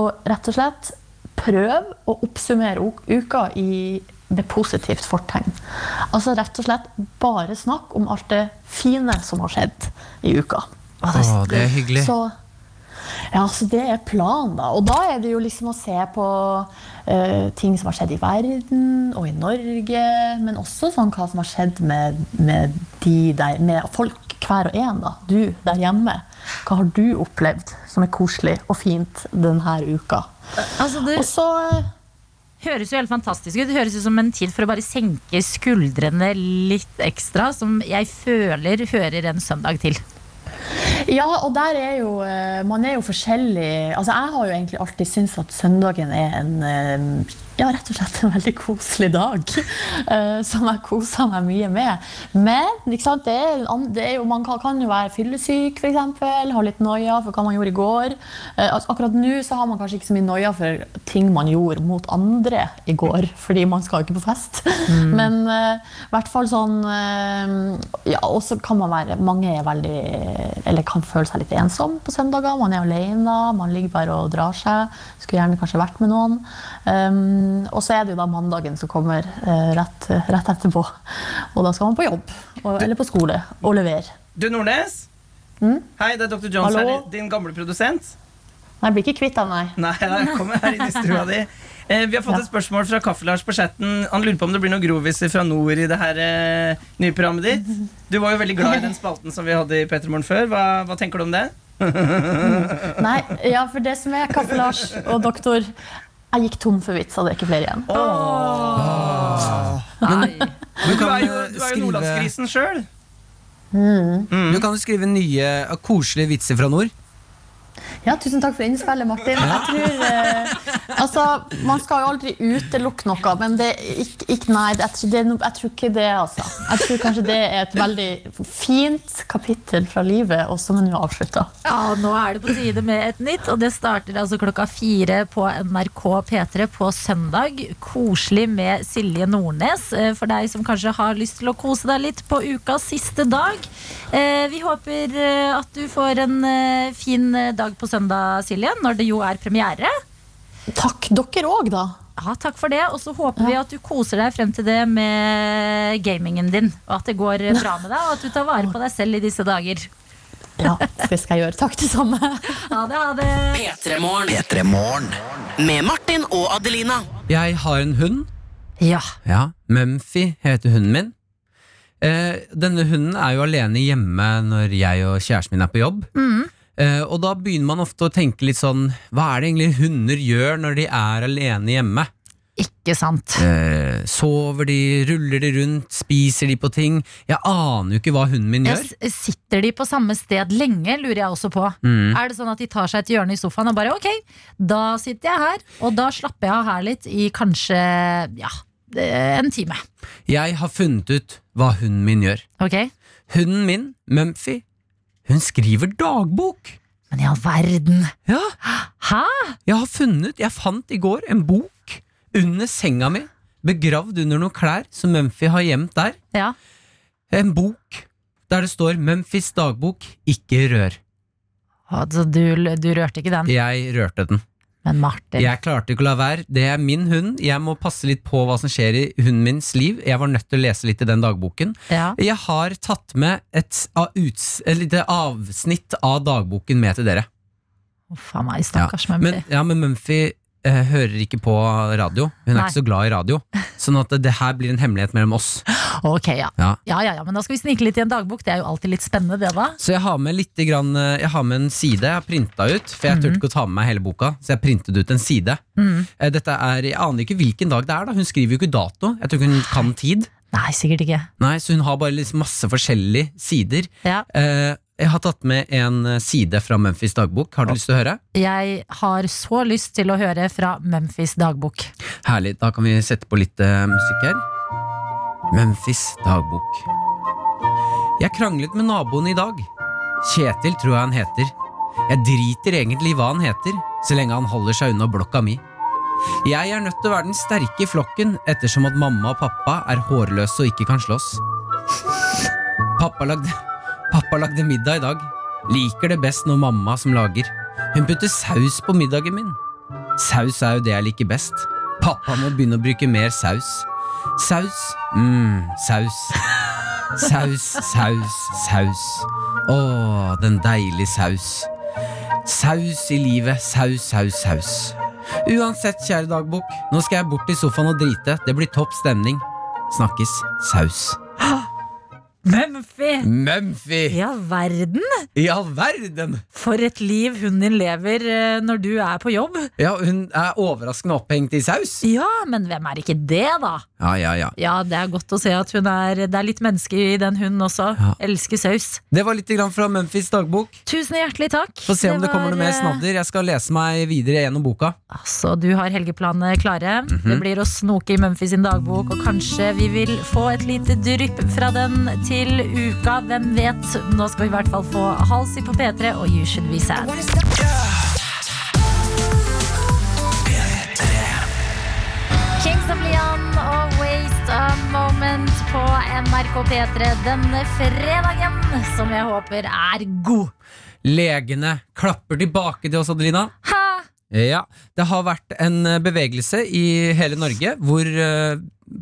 og rett og slett prøve å oppsummere u- uka i med positivt fortegn. Altså rett og slett bare snakk om alt det fine som har skjedd i uka.
Å, det er hyggelig
Så, ja, så det er planen, da. Og da er det jo liksom å se på eh, ting som har skjedd i verden og i Norge, men også sånn hva som har skjedd med, med de der Med folk hver og en, da. Du der hjemme. Hva har du opplevd som er koselig og fint denne uka?
Altså, det
Og så eh,
høres jo helt fantastisk ut. Det høres ut som en tid for å bare senke skuldrene litt ekstra, som jeg føler hører en søndag til.
Ja, og der er jo eh, Man er jo forskjellig. Altså, jeg har jo egentlig alltid syntes at søndagen er en eh, Ja, rett og slett en veldig koselig dag. eh, Som jeg koser meg mye med. Men ikke sant, det er, en an- det er jo, man kan, kan jo være fyllesyk, f.eks. Ha litt noia for hva man gjorde i går. Eh, altså, Akkurat nå så har man kanskje ikke så mye noia for ting man gjorde mot andre i går, fordi man skal jo ikke på fest. Men eh, i hvert fall sånn eh, Ja, og så kan man være Mange er veldig Eller kan føle seg litt ensom på søndager. Man er alene, man ligger bare og drar seg. Skulle gjerne kanskje vært med noen. Um, Um, og så er det jo da mandagen som kommer eh, rett, rett etterpå. Og da skal man på jobb, og, eller på skole, og levere.
Du, Nordnes. Hei, det er Dr. Jones
Hallo?
her, din gamle produsent.
Nei, jeg blir ikke kvitt den, nei.
Nei, jeg kommer her inn i stua di. Eh, vi har fått et spørsmål fra Kaffe-Lars på chatten. Han lurer på om det blir noen groviser fra nord i det her eh, nye programmet ditt. Du var jo veldig glad i den spalten som vi hadde i Petermorgen før. Hva, hva tenker du om det?
nei. Ja, for det som er Kaffe Lars og doktor Jeg gikk tom for vitser, det er ikke flere igjen.
Nei.
Du
Du
kan
er
jo
jo, du er jo
skrive,
nordlandsgrisen sjøl.
du kan jo skrive nye uh, koselige vitser fra nord.
Ja, Tusen takk for innspillet, Martin. Jeg tror, eh, altså, Man skal jo aldri utelukke noe, men det, ikke, ikke, nei, jeg, tror det, er no- jeg tror ikke det, altså. Jeg tror kanskje det er et veldig fint kapittel fra livet, og som er nå avslutta.
Ja, og nå er det på tide med et nytt, og det starter altså klokka fire på NRK P3 på søndag. Koselig med Silje Nordnes, eh, for deg som kanskje har lyst til å kose deg litt på ukas siste dag. Eh, Vi håper eh, at du får en eh, fin eh, dag på søndag, Silje, når det jo er premiere.
Takk dere òg, da.
Ja, takk for det, og så håper vi at du koser deg frem til det med gamingen din, og at det går eh, bra med deg, og at du tar vare på deg selv i disse dager.
Ja, det skal jeg gjøre. Takk, det samme.
Ha det, ha det!
P3-morgen. Med Martin og Adelina.
Jeg har en hund.
Ja.
Ja, Mumphy heter hunden min. Eh, denne hunden er jo alene hjemme når jeg og kjæresten min er på jobb. Eh, og da begynner man ofte å tenke litt sånn Hva er det egentlig hunder gjør når de er alene hjemme?
Ikke sant.
Eh, sover de, ruller de rundt, spiser de på ting? Jeg aner jo ikke hva hunden min gjør.
Jeg s- Sitter de på samme sted lenge, lurer jeg også på.
Mm.
Er det sånn at de tar seg et hjørne i sofaen og bare ok, da sitter jeg her, og da slapper jeg av her litt i kanskje ja, eh, en time.
Jeg har funnet ut hva hunden min gjør.
Ok?
Hunden min, Mumphy, hun skriver dagbok.
Men i all verden.
Ja,
Hæ?
Jeg har funnet, jeg fant i går en bok under senga mi, begravd under noen klær som Mumphy har gjemt der.
Ja.
En bok der det står 'Mumphys dagbok, ikke rør'.
Altså, du, du rørte ikke den,
Jeg rørte den.
men Martin.
Jeg klarte ikke å la være. Det er min hund. Jeg må passe litt på hva som skjer i hunden mins liv. Jeg var nødt til å lese litt i den dagboken.
Ja.
Jeg har tatt med et, av uts, et lite avsnitt av dagboken med til dere.
Uff a meg, stakkars ja.
Men, ja, men Mumphy eh, hører ikke på radio. Hun er
Nei.
ikke så glad i radio. Sånn at det her blir en hemmelighet mellom oss.
Ok, ja.
Ja.
ja, ja, ja, men da skal vi snike litt i en dagbok. Det er jo alltid litt spennende, det da.
Så jeg har med litt grann, eh, Jeg har med en side jeg har printa ut, for jeg turte ikke å ta med meg hele boka. Så jeg printet ut en side. Eh, Dette er, Jeg aner ikke hvilken dag det er. da Hun skriver jo ikke dato. Jeg tror ikke hun kan tid.
Nei, sikkert ikke.
Nei, Så hun har bare liksom masse forskjellige sider.
Ja.
Eh, Jeg har tatt med en eh, side fra Memphis dagbok. Har du lyst til å høre?
Jeg har så lyst til å høre fra Memphis dagbok.
Herlig, da kan vi sette på litt eh, musikk her. Memphis dagbok. Jeg kranglet med naboen i dag. Kjetil tror jeg han heter. Jeg driter egentlig i hva han heter, så lenge han holder seg unna blokka mi. Jeg er nødt til å være den sterke i flokken ettersom at mamma og pappa er hårløse og ikke kan slåss. Pappa lagde, pappa lagde middag i dag. Liker det best når mamma som lager. Hun putter saus på middagen min. Saus er jo det jeg liker best. Pappa må begynne å bruke mer saus. Saus, mm, saus. Saus, saus, saus. Å, den deilige saus. Saus i livet, saus, saus, saus. Uansett, kjære dagbok, nå skal jeg bort i sofaen og drite. Det blir topp stemning. Snakkes saus.
Mumphy!
Mumphy!
Ja, verden!
I all verden!
For et liv hunden din lever eh, når du er på jobb.
Ja, hun er overraskende opphengt i saus.
Ja, men hvem er ikke det, da?
Ja, ja, ja.
Ja, det er godt å se at hun er Det er litt menneske i den hunden også.
Ja.
Elsker saus.
Det var litt grann fra Memphys dagbok.
Tusen hjertelig takk.
Få se om det, kommer
var,
noe mer
eh,
snadder. Jeg skal lese meg videre gjennom boka.
Altså, du har helgeplanene klare. Det blir å snoke i Mumphy sin dagbok, og kanskje vi vil få et lite drypp fra den til uka. Hvem vet? Nå skal vi i hvert fall få Halsey på P3 og You Should Be Sad. Kings of Leon og Waste a Moment på NRK P3 denne fredagen, som jeg håper er god.
Legene klapper tilbake til oss, Adelina.
Hæ?
Ja, det har vært en eh, bevegelse i hele Norge hvor eh,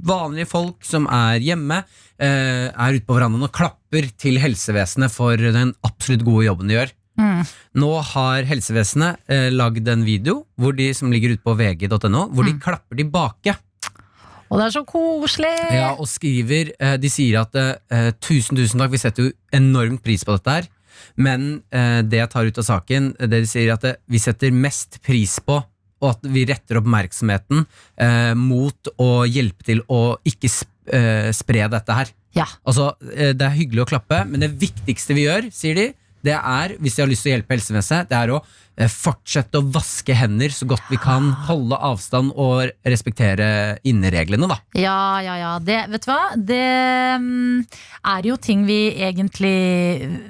vanlige folk som er hjemme, eh, er ute på verandaen og klapper til helsevesenet for den absolutt gode jobben de gjør.
Mm.
Nå har helsevesenet eh, lagd en video hvor de, som ligger ute på vg.no, hvor
Mm.
de klapper tilbake.
Og det er så koselig!
Ja, og skriver eh, De sier at eh, tusen, tusen takk, vi setter jo enormt pris på dette her. Men eh, det jeg tar ut av saken, det de sier at eh, vi setter mest pris på og at vi retter oppmerksomheten eh, mot å hjelpe til å ikke sp eh, spre dette her.
Ja.
Altså, eh, Det er hyggelig å klappe, men det viktigste vi gjør, sier de, det er, hvis de har lyst til å hjelpe helsevesenet, det er å eh, fortsette å vaske hender så godt vi kan, holde avstand og respektere innereglene, da.
Ja, ja, ja. Det, vet du hva? Det mm, er jo ting vi egentlig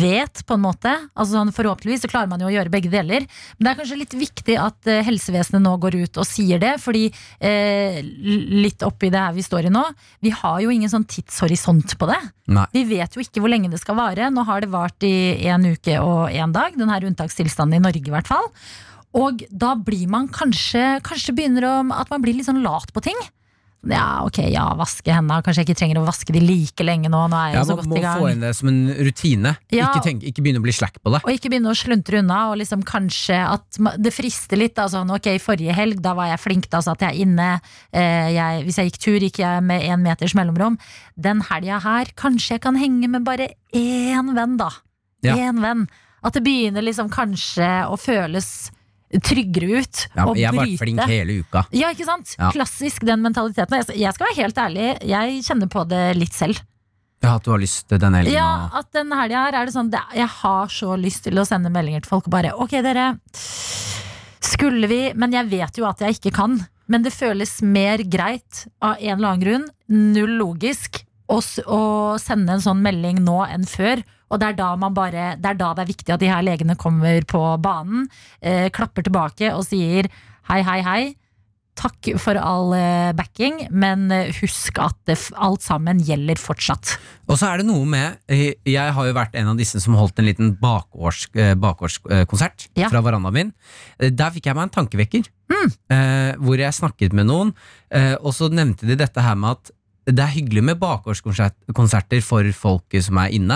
vet, på en måte. Altså sånn, Forhåpentligvis så klarer man jo å gjøre begge deler. Men det er kanskje litt viktig at eh, helsevesenet nå går ut og sier det. Fordi eh, litt oppi det her vi står i nå, vi har jo ingen sånn tidshorisont på det.
Nei.
Vi vet jo ikke hvor lenge det skal vare. Nå har det vart i en uke og en dag, denne unntakstilstanden i Norge i hvert fall. Og da blir man kanskje, kanskje begynner å, at man blir litt sånn lat på ting. Ja, ok, ja, vaske hendene. Kanskje jeg ikke trenger å vaske de like lenge nå. Nå er jeg
Ja,
jo så
man
godt
må
i
få
gang.
inn det som en rutine.
Ja.
Ikke, tenk, ikke begynne å bli slack på det.
Og ikke begynne å sluntre unna, og liksom kanskje at ma- det frister litt. Da, sånn, ok, forrige helg, da var jeg flink, da satt jeg inne. Eh, jeg, hvis jeg gikk tur, gikk jeg med én meters mellomrom. Den helga her, kanskje jeg kan henge med bare én venn, da.
Ja.
Én venn. At det begynner liksom kanskje å føles tryggere ut.
Ja,
å
men jeg har vært
bryte.
flink hele uka.
Ja, ikke sant?
Ja.
Klassisk den mentaliteten. Jeg skal- Jeg skal være helt ærlig, jeg kjenner på det litt selv.
Ja, at du har lyst til denne helgen.
Ja,
og-
at den helga her er det sånn det, Jeg har så lyst til å sende meldinger til folk og bare Ok, dere. Skulle vi Men jeg vet jo at jeg ikke kan. Men det føles mer greit av en eller annen grunn. Null logisk. Å, s- å sende en sånn melding nå enn før. Og det er, da man bare, det er da det er viktig at de her legene kommer på banen, eh, klapper tilbake og sier hei, hei, hei. Takk for all eh, backing, men eh, husk at det, f- alt sammen gjelder fortsatt.
Og så er det noe med eh, Jeg har jo vært en av disse som holdt en liten bakårs, eh, bakgårdskonsert
Ja.
fra verandaen min. Eh, Der fikk jeg meg en tankevekker, eh, hvor jeg snakket med noen, eh, og så nevnte de dette her med at det er hyggelig med bakgårdskonserter for folk som er inne,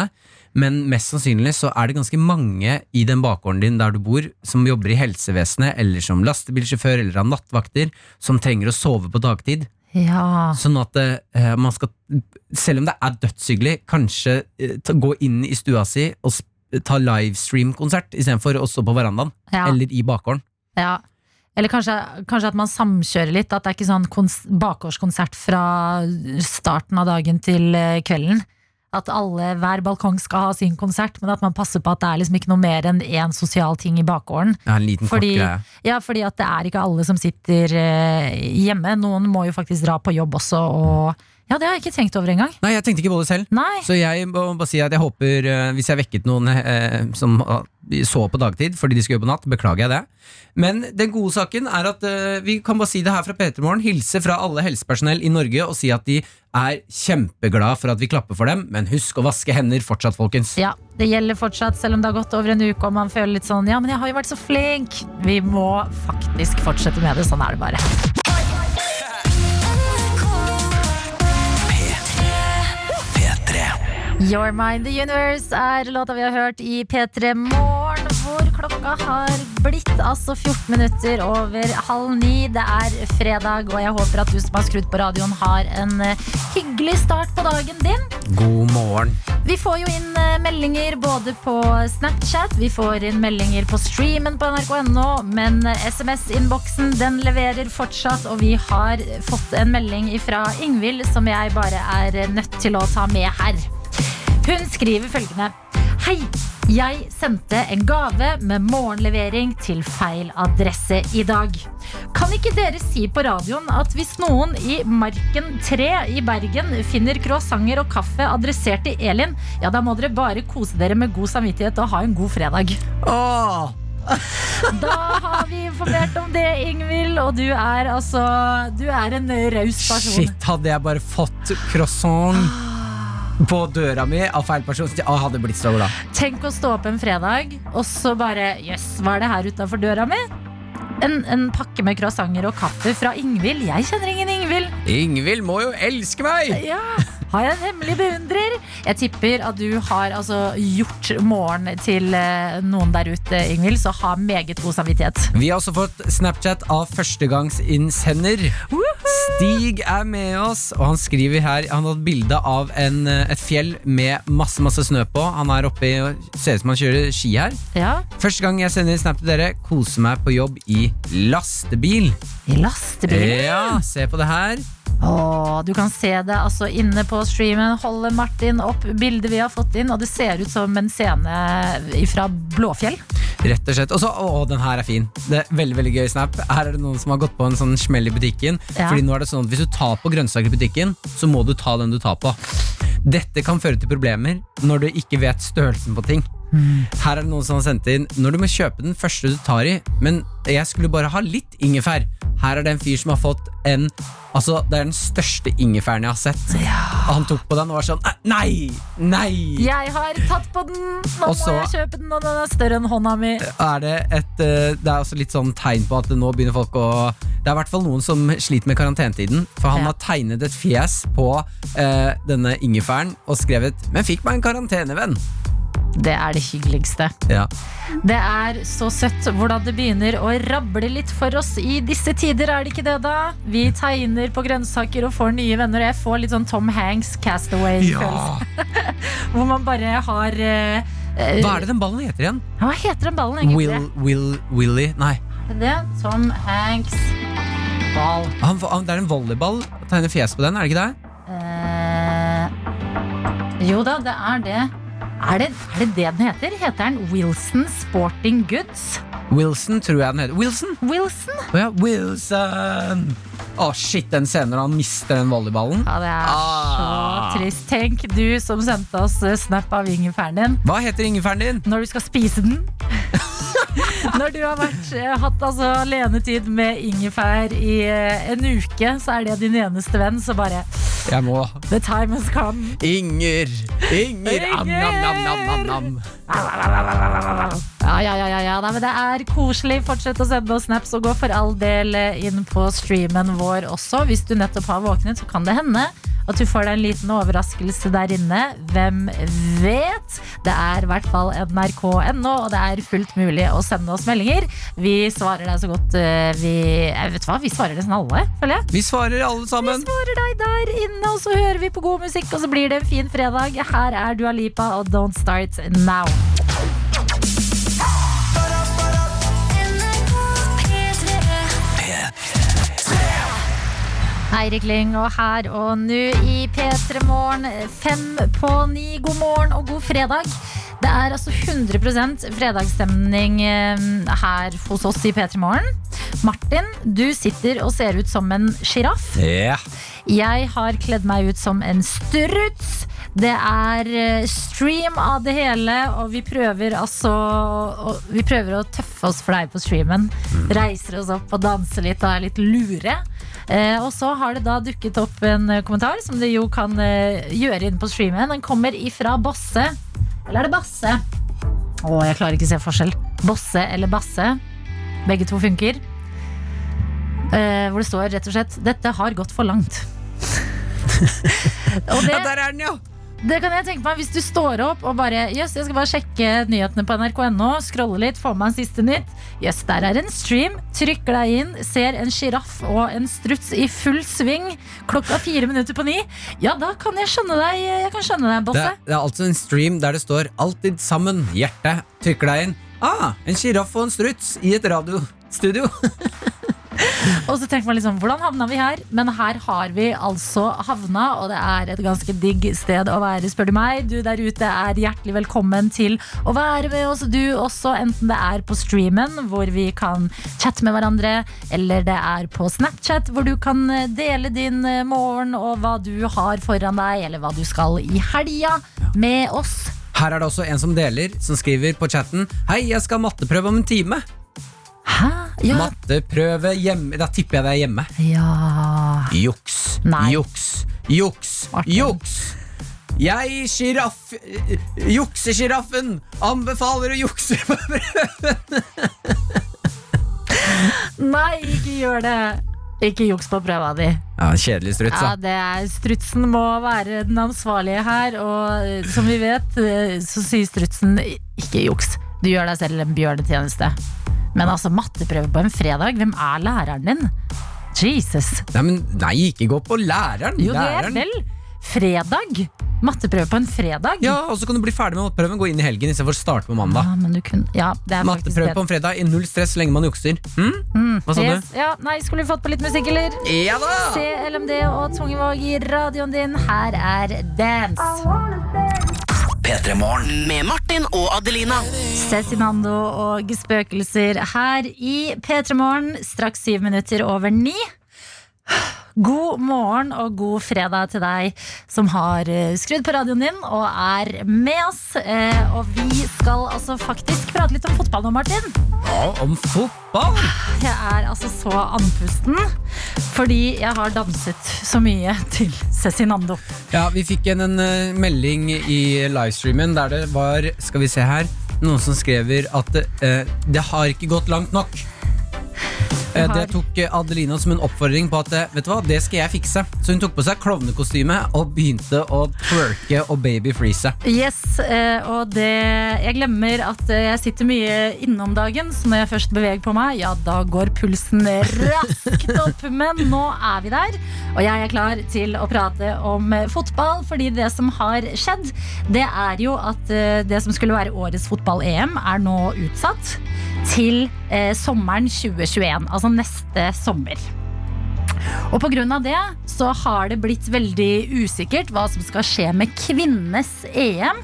men mest sannsynlig så er det ganske mange i den bakgården din der du bor, som jobber i helsevesenet, eller som lastebilsjåfør, eller har nattvakter, som trenger å sove på dagtid.
Ja.
Sånn at eh, man skal, selv om det er dødshyggelig, kanskje eh, ta, gå inn i stua si og sp ta livestream-konsert istedenfor å stå på verandaen
Ja.
eller i bakgården.
ja. Eller kanskje, kanskje at man samkjører litt. At det er ikke sånn kons bakgårdskonsert fra starten av dagen til eh, kvelden. At alle, hver balkong skal ha sin konsert, men at man passer på at det er liksom ikke noe mer enn én sosial ting i bakgården.
Det er en liten
Fordi-
kort greie.
Ja, fordi at det er ikke alle som sitter eh, hjemme. Noen må jo faktisk dra på jobb også, og Ja, det har jeg ikke tenkt over engang.
Nei, jeg tenkte ikke på det selv.
Nei.
Så jeg må bare si at jeg håper, eh, hvis jeg vekket noen eh, som ah, så på dagtid fordi de skulle jobbe på natt, beklager jeg det. Men den gode saken er at eh, vi kan bare si det her fra P3 Morgen. Hilse fra alle helsepersonell i Norge og si at de er kjempeglad for at vi klapper for dem. Men husk å vaske hender fortsatt, folkens.
Ja, det gjelder fortsatt, selv om det har gått over en uke og man føler litt sånn Ja, men jeg har jo vært så flink. Vi må faktisk fortsette med det. Sånn er det bare. You're Mind The Universe er låta vi har hørt i P3 Morgen, hvor klokka har blitt altså 14 minutter over halv ni. Det er fredag, og jeg håper at du som har skrudd på radioen, har en eh, hyggelig start på dagen din.
God morgen.
Vi får jo inn eh, meldinger både på Snapchat, vi får inn meldinger på streamen på nrk.no, men eh, SMS-innboksen den leverer fortsatt, og vi har fått en melding fra Ingvild som jeg bare er eh, nødt til å ta med her. Hun skriver følgende. Hei, jeg sendte en gave med morgenlevering til feil adresse i dag. Kan ikke dere si på radioen at hvis noen i Marken 3 i Bergen finner croissanter og kaffe adressert til Elin, ja da må dere bare kose dere med god samvittighet og ha en god fredag.
Åh,
Da har vi informert om det, Ingvild, og du er altså Du er en raus person.
shit, hadde jeg bare fått croissant på døra mi av feil person, så jeg hadde blitt så glad.
Tenk å stå opp en fredag, og så bare Jøss, yes, hva er det her utafor døra mi? en, en pakke med croissanter og kaffe fra Ingvild. Jeg kjenner ingen Ingvild.
Ingvild må jo elske meg!
Ja, har jeg en hemmelig beundrer? Jeg tipper at du har altså, gjort morgen til eh, noen der ute, Ingvild, så ha meget god samvittighet.
Vi har også fått Snapchat av førstegangsinnsender. Stig er med oss, og han skriver her Han har et bilde av en, eh, et fjell med masse masse snø på. Han er oppe i og ser ut som han kjører ski her.
Ja,
Første gang jeg sender snap til dere, koser meg på jobb i lastebil.
i lastebilen.
Ja, se på det her.
Åh, du kan se det altså inne på streamen. Holde Martin opp bildet vi har fått inn, og det ser ut som en scene fra Blåfjell.
Rett og slett. Og så, å, den her er fin. Det er Veldig veldig gøy snap. Her er det noen som har gått på en sånn smell i butikken.
Ja.
Fordi nå er det sånn at Hvis du tar på grønnsaker i butikken, så må du ta den du tar på. Dette kan føre til problemer når du ikke vet størrelsen på ting. Her er det noen som har sendt inn Når du må kjøpe den første du tar i Men jeg skulle bare ha litt ingefær Her er det en fyr som har fått en Altså, det er den største ingefæren jeg har sett Og han tok på den og var sånn Nei, nei
Jeg har tatt på den! Nå
Og så-
må jeg kjøpe den, og den er større enn hånda mi.
er det et eh, Det er også litt sånn tegn på at nå begynner folk å Det er i hvert fall noen som sliter med karantenetiden. For han
Ja.
har tegnet et fjes på eh, denne ingefæren og skrevet 'Men fikk meg en karantenevenn'.
Det er det hyggeligste.
Ja.
Det er så søtt hvordan det begynner å rable litt for oss i disse tider, er det ikke det, da? Vi tegner på grønnsaker og får nye venner, og jeg får litt sånn Tom Hanks Castaway-følelse. Hvor man bare har eh, eh,
Hva er det den ballen heter igjen?
Hva heter den ballen, egentlig?
Will, Will, Willy Nei.
Er det Det? Tom Hanks ball.
Han, han, det er en volleyball. Tegner fjes på den, er det ikke det?
Eh, jo da, det er det. Er det, er det det den heter? Heter den Wilson Sporting Goods?
Wilson, tror jeg den heter. Wilson!
Wilson?
Å ja, Wilson! Å, shit, den scenen når han mister den volleyballen.
Ja, det er
Ah.
så trist. Tenk du som sendte oss eh, snap av ingefæren din.
Hva heter ingefæren din?
Når du skal spise den. Når du har vært, eh, hatt altså alenetid med ingefær i eh, en uke, så er det din eneste venn, så bare
Jeg må
The time has come.
Inger! Inger! Am, nam, nam, nam, nam, nam.
Ja, ja, ja, ja, ja. Nei, men det er koselig. Fortsett å sende oss snaps, og gå for all del eh, inn på streamen vår også. Hvis du nettopp har våknet, så kan det hende at du får deg en liten overraskelse der inne. Hvem vet? Det er i hvert fall nrk.no, og det er fullt mulig å sende oss meldinger. Vi svarer deg så godt eh, vi jeg Vet hva, vi svarer nesten alle, føler jeg.
Vi svarer alle sammen.
Svarer deg der inne, og så hører vi på god musikk, og så blir det en fin fredag. Her er Dua Lipa og Don't Start Now.
NRK P3
Eirik Lyng og her og nå i P3 Morgen. Fem på ni. God morgen og god fredag. Det er altså 100 fredagsstemning eh, her hos oss i P3 Morgen. Martin, du sitter og ser ut som en sjiraff.
Ja.
Jeg har kledd meg ut som en struts. Det er eh, stream av det hele, og vi prøver altså å- Vi prøver å tøffe oss for deg på streamen. Reiser oss opp og danser litt og er litt lure. Eh, og så har det da dukket opp en eh, kommentar, som det jo kan eh, gjøre inne på streamen. Den kommer ifra Bosse. Eller er det Basse? Å, jeg klarer ikke å se forskjell. Bosse eller Basse. Begge to funker. Eh, hvor det står rett og slett 'Dette har gått for langt'. og det,
Der er den, ja!
det kan jeg tenke meg hvis du står opp og bare Jøss, jeg skal bare sjekke nyhetene på nrk.no, scrolle litt, få med en siste nytt. Jøss, der er en stream. Trykker deg inn, ser en sjiraff og en struts i full sving klokka fire minutter på ni. Ja, da kan jeg skjønne deg, jeg kan skjønne deg,
Det,
Bosse.
er- det er altså en stream der det står 'Alltid sammen', hjerte. Trykker deg inn. Ah, en sjiraff og en struts i et radiostudio.
Og så tenker man liksom, hvordan havna vi her? Men her har vi altså havna, og det er et ganske digg sted å være, spør du meg. Du der ute er hjertelig velkommen til å være med oss, du også, enten det er på streamen, hvor vi kan chatte med hverandre, eller det er på Snapchat, hvor du kan dele din eh, morgen og hva du har foran deg, eller hva du skal i helga med oss.
Her er det også en som deler, som skriver på chatten 'Hei, jeg skal ha matteprøve om en time'.
Hæ? Ja.
Matteprøve hjemme Da tipper jeg det er hjemme.
ja.
Juks,
Nei.
juks, juks,
Martin.
juks. Jeg, sjiraff... Juksesjiraffen anbefaler å jukse på prøven.
Nei, ikke gjør det! Ikke juks på prøva di.
Ja, Kjedelig strutt,
Ja,
da.
det er, strutsen må være den ansvarlige her, og eh, som vi vet, eh, så sier strutsen ikke juks. Du gjør deg selv en bjørnetjeneste. Men altså, matteprøve på en fredag, hvem er læreren din? Jesus.
Nei, men nei, ikke gå på læreren.
Jo, det er
læreren.
vel fredag! Matteprøve på en fredag?
Ja, Og så kan du bli ferdig med matteprøven, gå inn i helgen istedenfor å starte på
Ja,
mandag.
men du kunne Ja, det Ah, er faktisk
Matteprøve på en fredag, i null stress så lenge man jukser. Hm? Hva sa du?
Yes. Ja, nei, skulle vi fått på litt musikk, eller?
Ja da!
CLMD og Tungevåg i radioen din. Her er Dance.
Med Martin og Adelina.
Cezinando og spøkelser her i P3 Morgen, straks syv minutter over ni. God morgen og god fredag til deg som har eh, skrudd på radioen din og er med oss. Eh, Og vi skal altså faktisk prate litt om fotball nå, Martin.
Ja, om fotball!
Jeg er altså så andpusten fordi jeg har danset så mye til Cezinando.
Ja, Vi fikk en, en eh, melding i livestreamen der det var Skal vi se her noen som skrever at eh, det har ikke gått langt nok. Eh,
har-
Det tok eh, Adelina som en oppfordring på at eh, Vet du hva, det skal jeg fikse. Så hun tok på seg klovnekostyme og begynte å twerke og babyfreeze.
Yes, eh, og det Jeg glemmer at eh, jeg sitter mye inne om dagen, så når jeg først beveger på meg, ja, da går pulsen raskt opp. Men nå er vi der, og jeg er klar til å prate om eh, fotball. Fordi det som har skjedd, det er jo at eh, det som skulle være årets fotball-EM, er nå utsatt til eh, sommeren 2021. Altså neste sommer. Og pga. det så har det blitt veldig usikkert hva som skal skje med kvinnenes EM,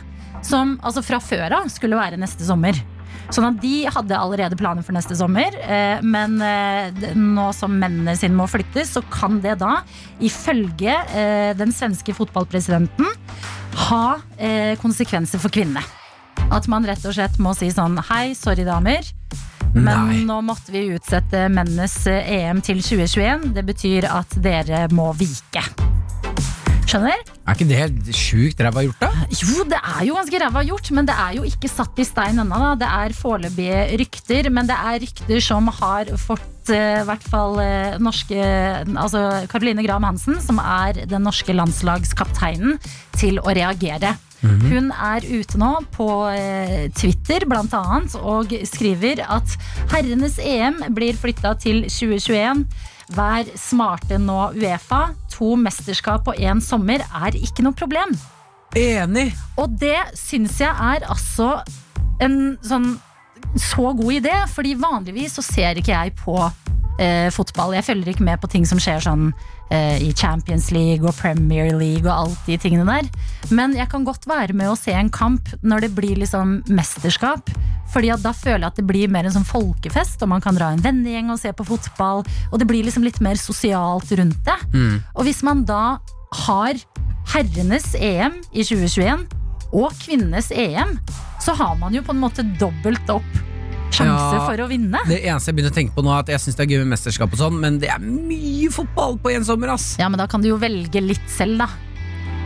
som altså fra før av skulle være neste sommer. Sånn at de hadde allerede planer for neste sommer, eh, men eh, d- nå som mennene sine må flyttes, så kan det da, ifølge eh, den svenske fotballpresidenten, ha eh, konsekvenser for kvinnene. At man rett og slett må si sånn Hei, sorry damer. Men
Nei.
nå måtte vi utsette mennenes eh, EM til 2021. Det betyr at dere må vike. Skjønner?
Er ikke det helt sjukt ræva gjort, da?
Jo, det er jo ganske ræva gjort, men det er jo ikke satt i stein ennå. da. Det er foreløpige rykter, men det er rykter som har fått eh, i hvert fall eh, norske Altså Caroline Graham Hansen, som er den norske landslagskapteinen, til å reagere. Hun er ute nå på eh, Twitter blant annet og skriver at herrenes EM blir flytta til 2021. Vær smarte nå, Uefa. To mesterskap på én sommer er ikke noe problem.
Enig!
Og det syns jeg er altså en sånn så god idé, fordi vanligvis så ser ikke jeg på eh, fotball. Jeg følger ikke med på ting som skjer sånn eh, i Champions League og Premier League og alt de tingene der. Men jeg kan godt være med å se en kamp når det blir liksom mesterskap. Fordi at da føler jeg at det blir mer en sånn folkefest, og man kan dra en vennegjeng og se på fotball. Og det blir liksom litt mer sosialt rundt det. Og hvis man da har herrenes EM i 2021 og kvinnenes EM, så har man jo på en måte dobbelt opp sjanse
Ja.
for å vinne.
Det eneste jeg begynner å tenke på nå, er at jeg syns det er gøy med mesterskap og sånn, men det er mye fotball på én sommer, ass!
Ja, men da kan du jo velge litt selv, da.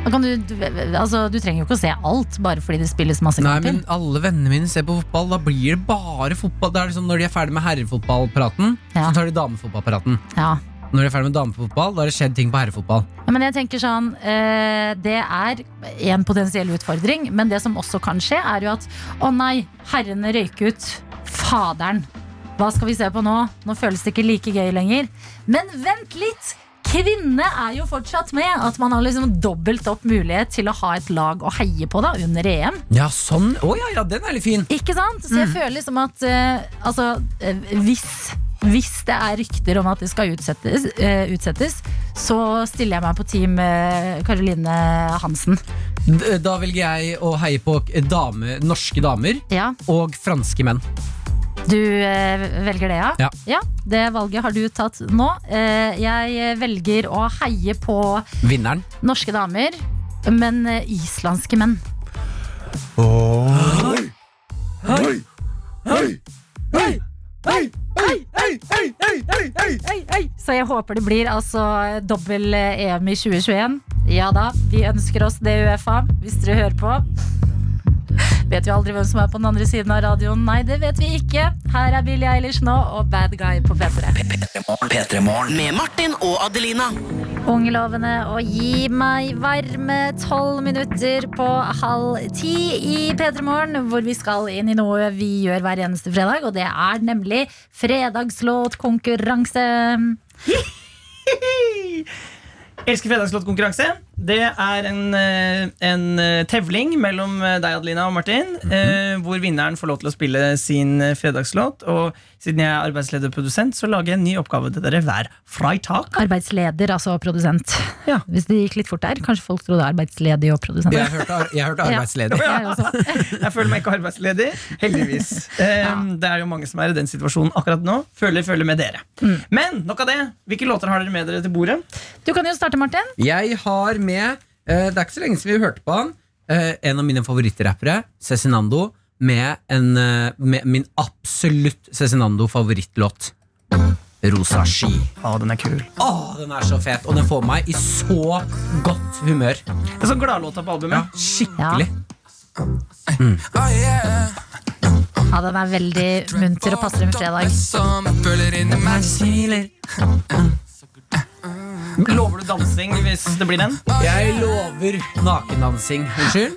Da kan du, du, altså, du trenger jo ikke å se alt bare fordi det spilles masse
Nei,
kamper.
men alle vennene mine ser på fotball. Da blir det bare fotball. Det er liksom Når de er ferdig med herrefotballpraten,
Ja.
så tar de damefotballpraten.
Ja.
Når de er ferdig med damefotball, da har det skjedd ting på herrefotball.
Ja, men jeg tenker sånn eh, Det er en potensiell utfordring, men det som også kan skje, er jo at å nei, herrene røyker ut. Faderen. Hva skal vi se på nå? Nå føles det ikke like gøy lenger. Men vent litt! Kvinne er jo fortsatt med. At man har liksom dobbelt opp mulighet til å ha et lag å heie på da, under E EM.
Ja, sånn. Å ja, ja, den er litt fin.
Ikke sant? Så jeg føler liksom at eh, altså, eh, hvis, hvis det er rykter om at det skal utsettes, eh, utsettes så stiller jeg meg på team eh, Caroline Hansen.
D- eh, Da velger jeg å heie på k- dame, norske damer
Ja,
og franske menn.
Du eh, velger det, ja?
Ja.
Det valget har du tatt nå. Eh, jeg velger å heie på
Vinneren.
norske damer, men eh, islandske menn. Hei, hei. Så jeg håper det blir altså dobbel eh, EM i 2021. Ja da, vi ønsker oss det, Uefa, hvis dere hører på. Vet vi aldri hvem som er på den andre siden av radioen? Nei, det vet vi ikke. Her er Billie Eilish nå og Bad Guy på P3.
Med Martin og Adelina.
Ungelovene og gi meg varme tolv minutter på halv ti i P3 Morgen, hvor vi skal inn i noe vi gjør hver eneste fredag, og det er nemlig fredagslåtkonkurranse.
Elsker fredagslåtkonkurranse. Det er en, eh, en eh, tevling mellom eh, deg, Adelina, og Martin, eh,
Mhm.
hvor vinneren får lov til å spille sin eh, fredagslåt. Og siden jeg er arbeidsleder og produsent, så lager jeg en ny oppgave til dere hver fredag.
Arbeidsleder, altså produsent.
Ja.
Hvis det gikk litt fort der, kanskje folk trodde arbeidsledig og produsent.
Jeg hørte, ar- jeg hørte arbeidsledig.
Jeg også.
Jeg føler meg ikke arbeidsledig, heldigvis. Eh, Det er jo mange som er i den situasjonen akkurat nå. Føler, føler med dere.
Mm.
Men nok av det. Hvilke låter har dere med dere til bordet?
Du kan jo starte, Martin.
Jeg har med eh, Det er ikke så lenge siden vi hørte på han. eh, en av mine favorittrappere, Cezinando, med, en, eh, med min absolutt Cezinando-favorittlåt. Rosa sky.
Å, den er kul.
Åh, den er så fet, og den får meg i så godt humør.
Det er sånn gladlåta på
Ja,
albumet.
skikkelig.
Ja, den er veldig munter og passer en fredag. Mm.
Lover du dansing hvis det blir den?
Jeg lover nakendansing. Unnskyld?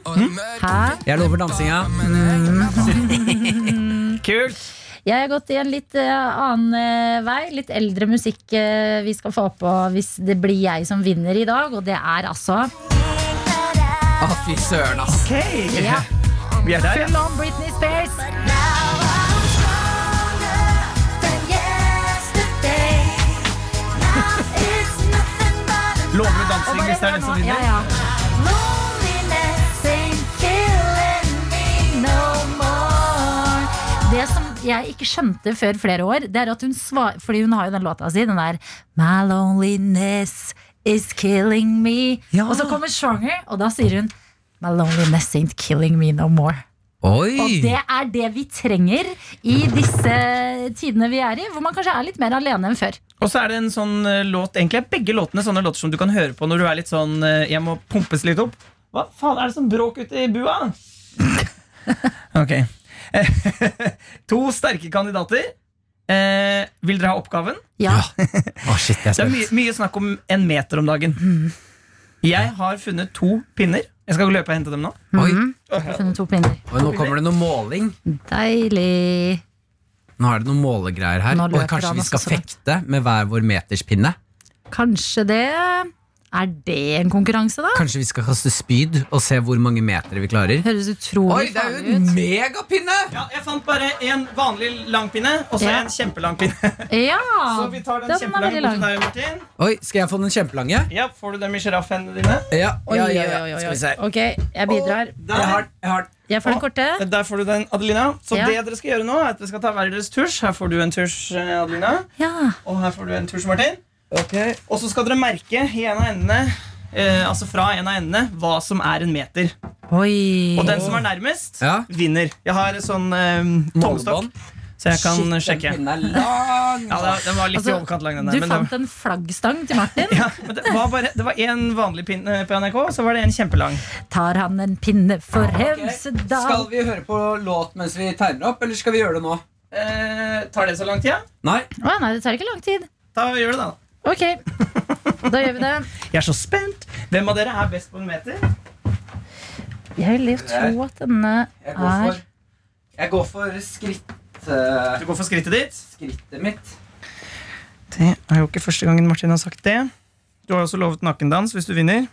Hæ?
Jeg lover dansinga.
Mm.
Kult.
Jeg har gått i en litt eh, annen eh, vei. Litt eldre musikk eh, vi skal få på hvis det blir jeg som vinner i dag. Og det er altså
Å, fy søren, ass.
Okay.
ja,
Vi er der, ja.
Full on Britney Spears.
Lover du dansing hvis det er den som
Ja,
vinner?
ja. Det som jeg ikke skjønte før flere år, Det er at hun svar, fordi hun har jo den låta si, den der My loneliness is killing me. Og så kommer Stronger, og da sier hun My loneliness ain't killing me no more. Og
Oi!
det er det vi trenger i disse tidene vi er i, hvor man kanskje er litt mer alene enn før.
Og så er det en sånn eh, låt Egentlig er begge låtene sånne låter som du kan høre på når du er litt sånn eh, Jeg må pumpes litt opp. Hva faen er det som bråk ute i bua? ok. to sterke kandidater. Eh, vil dere ha oppgaven?
Ja,
Å, shit, jeg er
Det er
spent.
mye, mye snakk om en meter om dagen. Jeg har funnet to pinner. Jeg skal løpe og hente dem nå.
Oi,
funnet to pinner.
og nå kommer det noe måling.
Deilig.
Nå er det noen målegreier her.
Nå
Og
løper
kanskje
han
vi
også sånn.
skal
så langt.
fekte med hver vår meterspinne.
Kanskje det Er det en konkurranse, da?
Kanskje vi skal kaste spyd og se hvor mange meter vi klarer.
Høres
Oi,
utrolig
det er jo
farlig
en
ut.
megapinne!
Ja, jeg fant bare en vanlig lang pinne og så
Ja.
en kjempelang pinne.
Ja,
Så vi tar den,
den er
kjempelange
veldig
bort
lang.
til deg, Martin.
Oi, skal jeg få den kjempelange?
Ja, Får du dem i sjiraffhendene dine?
Ja,
Oi,
ja,
oi,
ja,
oi,
ja.
oi,
Skal vi se.
oi. Ok, jeg bidrar.
Jeg har den. Jeg har den.
Jeg får den korte.
Eh, Der får du den, Adelina. Så
Ja.
det dere skal gjøre nå, er at dere skal ta hver deres tusj. Her får du en tusj, eh, Adelina.
Ja.
Og her får du en tusj, Martin. Og så skal dere merke i en av endene eh, Altså fra en av endene hva som er en meter.
Oi.
Og den som er nærmest,
Ja.
vinner. Jeg har sånn eh, tommestokk,
Målebånd.
så jeg kan sjekke.
Den pinnen er lang!
Ja, da- den var litt i
Altså,
overkant lang, den
Du
der. Men det,
fant en flaggstang til Martin.
ja, men det var bare Det var én vanlig pinne på NRK, og så var det en kjempelang.
Tar han en pinne for
Ah, Skal
Hemsedal?
vi høre på låt mens vi tegner opp, eller skal vi gjøre det nå?
Eh, tar det så lang tid? ja?
Nei.
Å nei, det tar ikke lang tid.
Da gjør det, da.
Ok, da gjør vi det.
Jeg er så spent. Hvem av dere er best på en meter?
Jeg vil jo tro at denne
Jeg går
er
for, jeg går for skritt, eh,
Du går for skrittet ditt.
skrittet mitt.
Det er jo ikke første gangen Martin har sagt det. Du har jo også lovet nakendans hvis du vinner.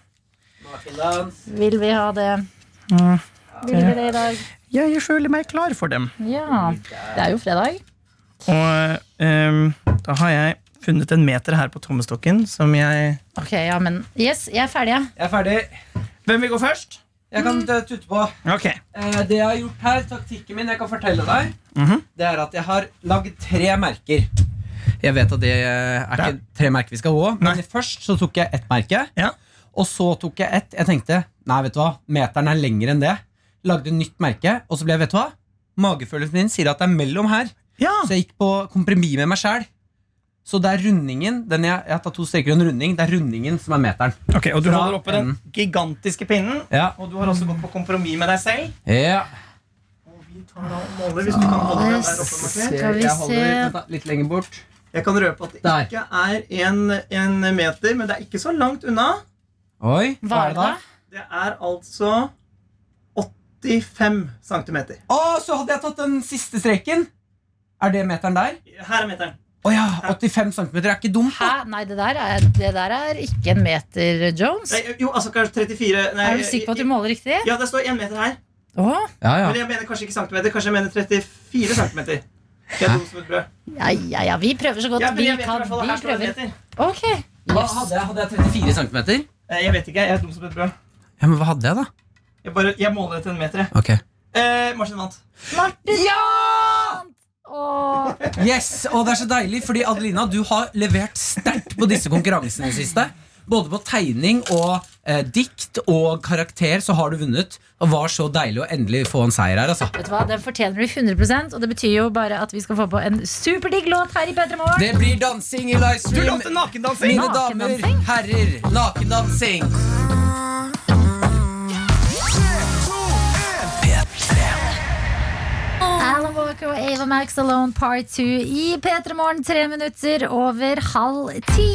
Bakendans.
Vil vi ha det? Vil vi det i dag?
Jeg føler meg klar for dem.
Ja. Det er jo fredag.
Og ehm, da har jeg funnet en meter her på tommestokken som jeg
Ok, ja, men Yes, jeg er ferdig, jeg.
Jeg er ferdig.
Hvem vil gå først?
Jeg kan eh, tutte på.
Ok.
Eh, det jeg har gjort her, taktikken min, jeg kan fortelle deg,
Mhm.
det er at jeg har lagd tre merker. Jeg vet at det er ikke tre merker vi skal gå, men
Nei.
først så tok jeg ett merke.
Ja.
Og så tok jeg ett. Jeg tenkte nei, vet du hva, meteren er lengre enn det. Lagde nytt merke, og så ble jeg, vet du hva, magefølelsen min sier at det er mellom her.
Ja.
Så jeg gikk på kompromiss med meg sjæl. Så det er rundingen den jeg, jeg har tatt to streker under runding. Det er rundingen som er meteren.
Ok, Og du
Fra
holder oppe den gigantiske pinnen.
Ja.
Og du har også gått på kompromiss med deg selv.
Ja.
Hvis du kan holde den der oppe, Martin.
Skal vi
Jeg holder
se
vent da, litt lenger bort.
Jeg kan røpe at det
Der.
ikke er en, en meter, men det er ikke så langt unna.
Oi.
Hva er det?
Det er altså 85 centimeter.
Å, så hadde jeg tatt den siste streken. Er det meteren der?
Her er meteren.
Å ja, 85 cm er ikke dumt.
Hæ?
da.
Nei, det der, er, det der er ikke en meter, Jones.
Nei, jo, altså kanskje 34 nei,
Er du sikker på at du måler riktig?
Ja, det står 1 meter her.
Åh,
Ja, ja.
Men jeg mener kanskje ikke centimeter, kanskje jeg mener 34 centimeter. Jeg er dum som et brød.
ja, ja, ja, vi prøver så godt
Ja, men
vi
jeg vet i
kan.
hvert fall,
Vi
her står det en
prøver.
meter.
Ok.
Hva hadde jeg? Hadde jeg 34 cm?
Eh, Jeg vet ikke, jeg er dum som et brød.
Ja, men hva hadde jeg, da?
Jeg, bare, jeg måler etter en meter, jeg.
Ok.
Eh, Martin vant.
Martin!
Ja!
Åh,
Yes, og det er så deilig, fordi Adelina, du har levert sterkt på disse konkurransene i det siste. Både på tegning og eh, dikt og karakter så har du vunnet. Og var så deilig å endelig få en seier her, altså.
vet du hva, Den fortjener du 100 og det betyr jo bare at vi skal få på en superdigg låt her i P3 Morgen.
Det blir dansing i
Du
livestream.
lovte nakendansing!
Mine damer,
Nakendansing?
herrer, nakendansing.
Alan Walker og Ava Max Alone Part 2 i P3 Morgen, tre minutter over halv ti.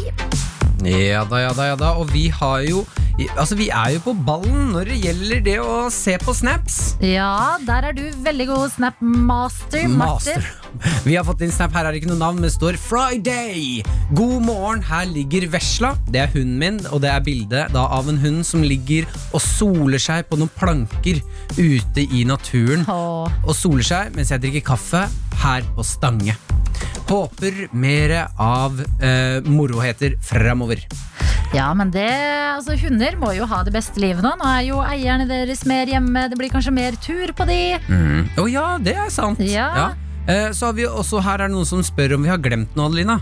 Ja da, ja da, ja da. Og vi har jo Altså, vi er jo på ballen når det gjelder det å se på snaps.
Ja, der er du veldig god snapmaster, Martin.
Master. Vi har fått inn snap, her er det ikke noe navn, men det står Friday. God morgen, her ligger vesla. Det er hunden min, og det er bildet da av en hund som ligger og soler seg på noen planker ute i naturen.
Åh.
Og soler seg mens jeg drikker kaffe her på Stange. Håper mere av eh, moroheter framover.
Ja, men det, altså Hunder må jo ha det beste livet nå. Nå er jo eierne deres mer hjemme. Det blir kanskje mer tur på de.
Mm. Å ja, det er sant.
Ja.
Eh, så har vi også, her er det noen som spør om vi har glemt noe, Adelina.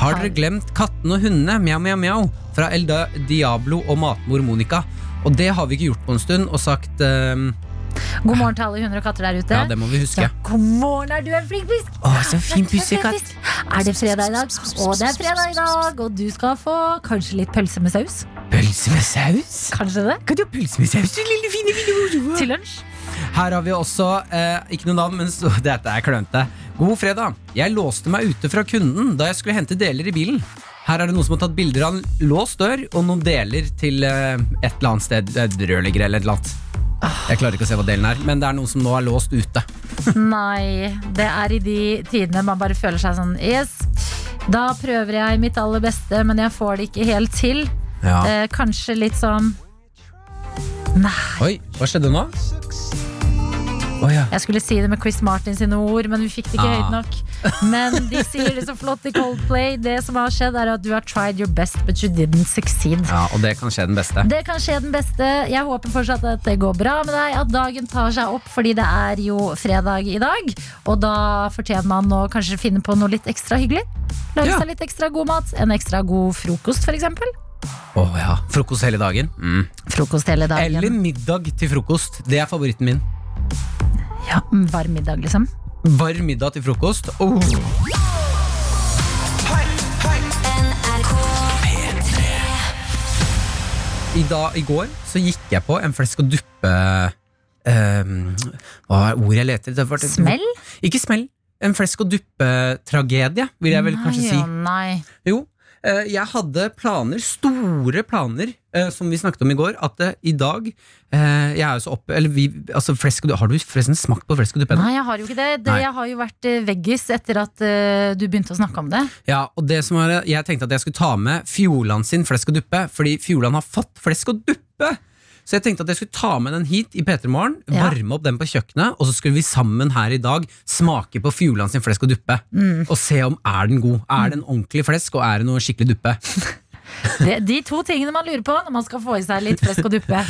Har dere
Har-
glemt Katten og hundene, mjau, mjau, mjau, fra El Da- Diablo og matmor Monica? Og det har vi ikke gjort på en stund, og sagt ehm,
God morgen til alle hunder og katter der ute.
Ja, det må vi huske.
Ja, god morgen, er du en flink fisk?
Å, så fin pussekatt.
Er det fredag i dag? Og det er fredag i dag, og du skal få kanskje litt pølse med saus.
Pølse med saus?
Kanskje det?
Kan du ha pølse med saus, du lille fine fine
Til lunsj.
Her har vi også, eh, ikke noe navn, men så, dette er klønete. God fredag. Jeg låste meg ute fra kunden da jeg skulle hente deler i bilen. Her er det noen som har tatt bilder av en låst dør og noen deler til eh, et eller annet sted. eh, Rørlegger eller et eller annet. Jeg klarer ikke å se hva delen er, men det er noen som nå er låst ute.
Nei, det er i de tidene man bare føler seg sånn Yes, da prøver jeg mitt aller beste, men jeg får det ikke helt til.
Ah.
Eh, kanskje litt sånn
Oi, hva skjedde nå? Å ja.
Jeg skulle si det med Chris Martin sine ord, men vi fikk det ikke
Ah.
høyt nok. Men de sier det så flott i Coldplay. Det som har skjedd, er at du har tried your best, but you didn't succeed.
ja, og det kan skje den beste.
Det kan skje den beste. Jeg håper fortsatt at det går bra med deg, at dagen tar seg opp, fordi det er jo fredag i dag. Og da fortjener man å kanskje finne på noe litt ekstra hyggelig. Lage
Ja.
seg litt ekstra god mat. En ekstra god frokost, f.eks.
Å ja. Frokost hele dagen. Mm.
Frokost hele dagen.
Eller middag til frokost. Det er favoritten min.
Ja, varm middag, liksom.
Varm middag til frokost. Oh. I, dag, I går så gikk jeg på en flesk og duppe ehm, Hva er ordet jeg leter etter? Det var-
Smell?
Ikke smell. En flesk og duppe-tragedie, vil jeg vel kanskje
nei,
si.
å nei.
Jo, eh, jeg hadde planer, store planer, eh, som vi snakket om i går, at eh, i dag eh, Jeg er jo så oppe Eller vi altså, flesk og duppe Har du forresten smakt på flesk og duppe? ennå?
Nei, jeg har jo ikke det. det
Nei.
jeg har jo vært eh, veggis etter at eh, du begynte å snakke om det.
Ja, og det som er, Jeg tenkte at jeg skulle ta med Fjordland sin flesk og duppe, fordi Fjordland har fått flesk og duppe! Så jeg tenkte at jeg skulle ta med den hit i P3 Morgen,
Ja.
varme opp den på kjøkkenet, og så skulle vi sammen her i dag smake på Fjordland sin flesk og duppe.
Mm.
Og se om er den god. Er det en ordentlig flesk, og er det noe skikkelig duppe?
det. De to tingene man lurer på når man skal få i seg litt flesk og duppe.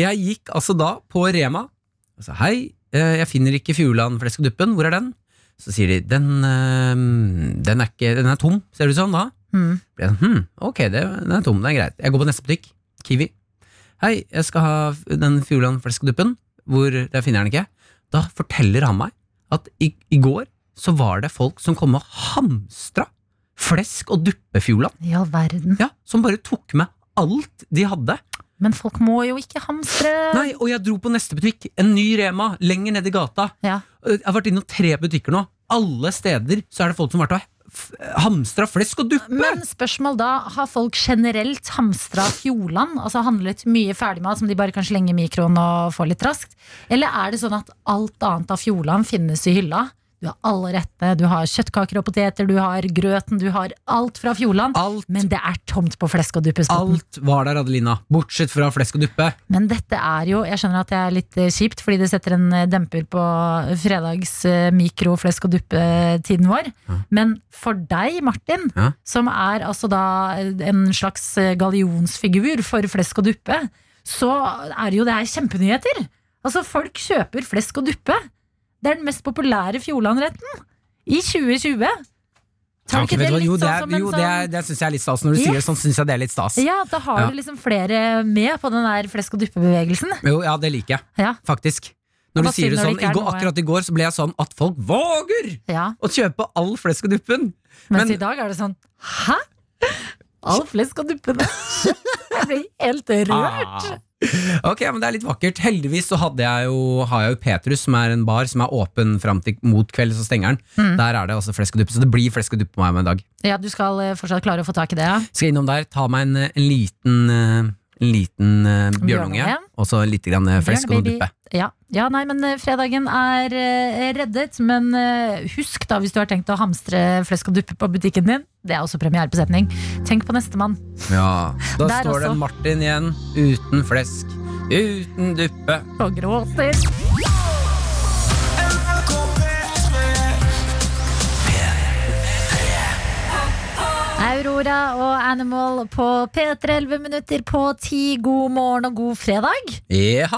Jeg gikk altså da på Rema og sa hei, eh, jeg finner ikke Fjordland flesk og duppen, hvor er den? Så sier de den, eh, den, er, ikke, den er tom, ser du sånn da?
Mm.
Ble jeg sånn, Hm, ok, det, den er tom, det er greit. Jeg går på neste butikk, Kiwi. Hei, jeg skal ha f- den Fjordland flesk og duppen, hvor der finner jeg den ikke. Da forteller han meg at i, i går så var det folk som kom og hamstra flesk og duppe Fjordland.
I all verden.
Ja, som bare tok med alt de hadde.
Men folk må jo ikke hamstre.
Nei, og jeg dro på neste butikk. En ny Rema lenger ned i gata.
Ja.
Jeg har vært innom tre butikker nå. Alle steder så er det folk som har vært og f- hamstra flesk og duppe.
Men spørsmål da, har folk generelt hamstra Fjordland? Altså handlet mye ferdigmat som de bare kan slenge i mikroen og få litt raskt? Eller er det sånn at alt annet av Fjordland finnes i hylla? Du har alle rettene, du har kjøttkaker og poteter, du har grøten, du har alt fra Fjordland.
Alt.
Men det er tomt på flesk og duppespotten.
Alt var der, Adelina. Bortsett fra flesk og duppe.
Men dette er jo, jeg skjønner at det er litt eh, kjipt, fordi det setter en eh, demper på fredags eh, mikro, flesk og duppe-tiden vår. Men for deg, Martin,
Ja.
som er altså da eh, en slags eh, gallionsfigur for flesk og duppe, så er jo det her kjempenyheter. Altså, folk kjøper flesk og duppe. Det er den mest populære Fjordland-retten i 2020. Tar ikke
Vet
det
du hva?
litt
jo, det,
sånn
er-
som en
jo, det,
sånn
er- det syns jeg er litt stas. Når du sier det sånn, syns jeg det er litt stas.
Ja, da har
Ja.
du liksom flere med på den der flesk og duppe-bevegelsen.
Jo, ja, det liker jeg.
Ja.
Faktisk. Når du
Det var
sier
synd
det
når det
sånn,
ikke er
i går,
noe.
Akkurat i går så ble jeg sånn at folk våger
Ja.
å kjøpe all flesk og duppen.
Mens
Men-
i dag er det sånn Hæ? All flesk og duppe med kjøtt? Jeg blir helt rørt.
Ah. Ok, men det er litt vakkert. Heldigvis så hadde jeg jo, har jeg jo Petrus, som er en bar som er åpen fram til mot kveld, så stenger den.
Mm.
Der er det også flesk og duppe, så det blir flesk og duppe på meg om en dag.
Ja, Du skal eh, fortsatt klare å få tak i det? ja
Skal innom der, ta meg en, en liten, eh, en liten eh, bjørnunge,
Bjørnunge.
og så litt grann eh, flesk og
Bjørnebaby.
duppe.
Ja. ja, nei, men eh, fredagen er eh, reddet. Men eh, husk, da, hvis du har tenkt å hamstre flesk og duppe på butikken din, det er også premiere på setning. Tenk på nestemann.
Ja, Da
Der
står det
også.
Martin igjen, uten flesk, uten duppe.
Og gråter. Aurora og Animal på P3, 11 minutter på 10. God morgen og god fredag.
Ja,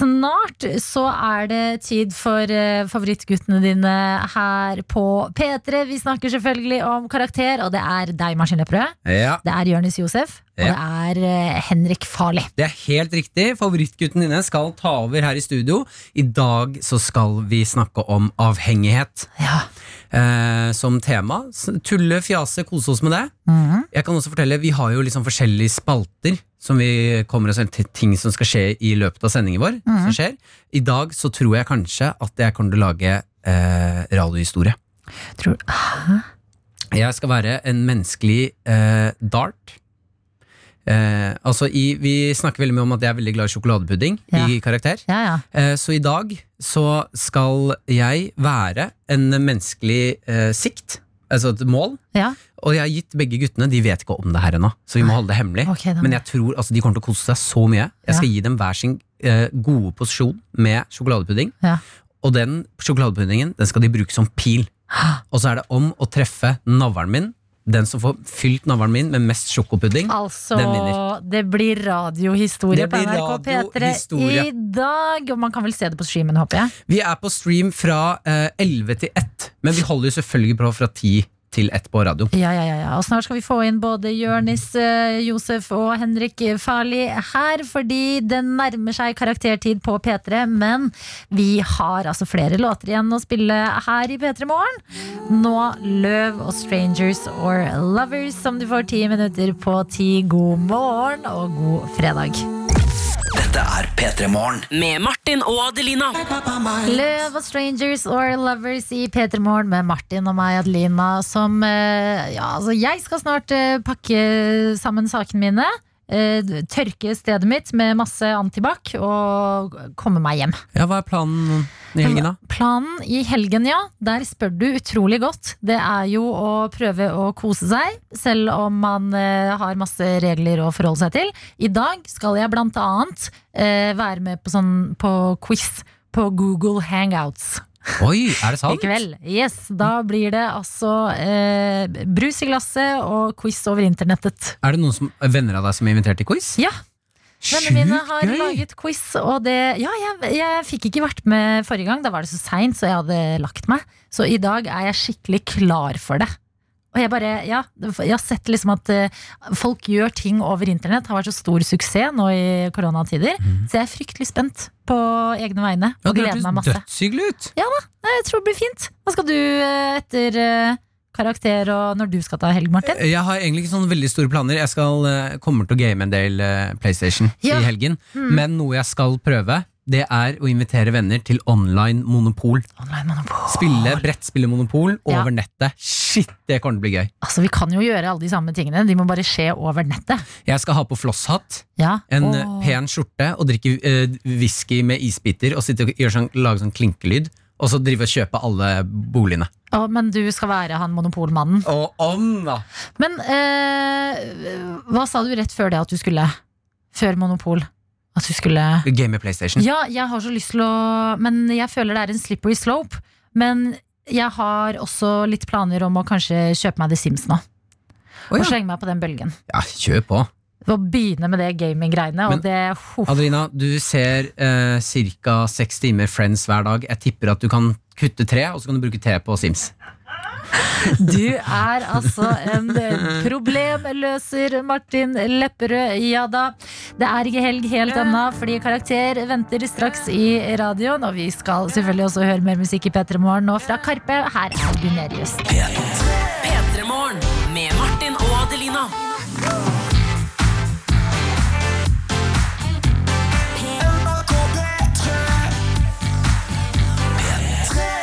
Snart så er det tid for eh, favorittguttene dine her på P3. Vi snakker selvfølgelig om karakter, og det er deg, Maskinløpere.
ja.
Det er Jonis Josef, og det er eh, Henrik Farli.
Det er helt riktig. Favorittgutten dine skal ta over her i studio. I dag så skal vi snakke om avhengighet
Ja.
eh, som tema. S- Tulle, fjase, kose oss med det. Jeg kan også fortelle, Vi har jo liksom forskjellige spalter som vi kommer oss til ting som skal skje i løpet av sendingen vår. som skjer. I dag så tror jeg kanskje at jeg kommer til å lage eh, radiohistorie.
Tror,
Jeg skal være en menneskelig eh, dart. Eh, altså i, vi snakker veldig mye om at jeg er veldig glad i sjokoladepudding
Ja.
i karakter.
ja, ja.
Eh, så i dag så skal jeg være en menneskelig eh, sikt, altså et mål.
ja.
Og jeg har gitt begge guttene, de vet ikke om det her ennå, så vi må holde det hemmelig.
Ok, da må-
Men jeg tror altså, de kommer til å kose seg så mye. Jeg skal gi dem hver sin eh, gode posisjon med sjokoladepudding.
Ja.
Og den sjokoladepuddingen den skal de bruke som pil. Og så er det om å treffe navlen min. Den som får fylt navlen min med mest sjokopudding.
Altså,
Den vinner.
det blir radiohistorie
Det
på
blir
NRK P3
radiohistorie.
i dag. Og man kan vel se det på streamen, håper jeg.
Vi er på stream fra eh, 11 til 1, men vi holder jo selvfølgelig på fra 10 til 1 på radio.
Ja, ja, ja, ja. Og snart skal vi få inn både Jørnis, eh, Josef og Henrik Farli her, fordi det nærmer seg karaktertid på P3. Men vi har altså flere låter igjen å spille her i P3 Morgen. Nå Løv og Strangers or Lovers, som du får ti minutter på ti. God morgen og god fredag.
Med Martin og Adelina.
Løv og Strangers or Lovers i P3 Morgen med Martin og meg, Adelina, som eh, Ja, altså, jeg skal snart eh, pakke sammen sakene mine. eh, Tørke stedet mitt med masse antibac og komme meg hjem.
Ja, Hva er planen i helgen, da?
Planen i helgen, ja. Der spør du utrolig godt. Det er jo å prøve å kose seg, selv om man eh, har masse regler å forholde seg til. I dag skal jeg blant annet eh, være med på, sånn, på quiz på Google Hangouts.
Oi, er det sant?
I kveld. Yes, da blir det altså eh, brus i glasset og quiz over internettet.
Er det noen som, venner av deg som er invitert til quiz?
Ja, Vennene mine har
Sjukt gøy!
laget quiz, og det Ja, jeg, jeg fikk ikke vært med forrige gang. Da var det så seint, så jeg hadde lagt meg. Så i dag er jeg skikkelig klar for det. Og jeg bare, ja, jeg har sett liksom at eh, folk gjør ting over internett. Har vært så stor suksess nå i koronatider. Så jeg er fryktelig spent på egne vegne.
Mhm. Ja,
Og
det
gleder
hørtes
meg masse.
dødshyggelig ut.
Nei, Jeg tror det blir fint. Hva skal du eh, etter eh, karakter og når du skal ta helg, Martin?
Jeg har egentlig ikke sånne veldig store planer. Jeg skal, eh, kommer til å game en del eh, PlayStation
Ja. Mm.
i helgen. Men noe jeg skal prøve, det er å invitere venner til online monopol.
Online monopol.
Spille brettspillemonopol
Ah. Ja.
over nettet. Shit, det kommer til å bli gøy.
Altså, vi kan jo gjøre alle de samme tingene, de må bare skje over nettet.
Jeg skal ha på flosshatt,
Ja.
en
Åh.
eh, pen skjorte og drikke eh, whisky med isbiter og sitte og gjøre sånn, lage sånn klinkelyd. Og så drive og kjøpe alle boligene.
Å, men du skal være han monopolmannen.
Og om, da!
Men eh, hva sa du rett før det at du skulle? Før Monopol? At du skulle
Game med PlayStation.
Ja, jeg har så lyst til å Men jeg føler det er en slippery slope. Men jeg har også litt planer om å kanskje kjøpe meg The Sims nå.
Å,
Og
ja.
slenge meg på den bølgen.
ja, kjør på.
Og begynne med det gaming-greiene.
Men-
Og det huff.
Adelina, du ser eh, ca. seks timer Friends hver dag. Jeg tipper at du kan kutte tre, og så kan du bruke te på Sims.
Du er altså en problemløser, Martin Lepperød. Ja da. Det er ikke helg helt ennå, fordi Karakter venter straks i radioen. Og vi skal selvfølgelig også høre mer musikk i P3 Morgen nå fra Karpe. Her er Gunerius.
P3morgen med Martin og Adelina.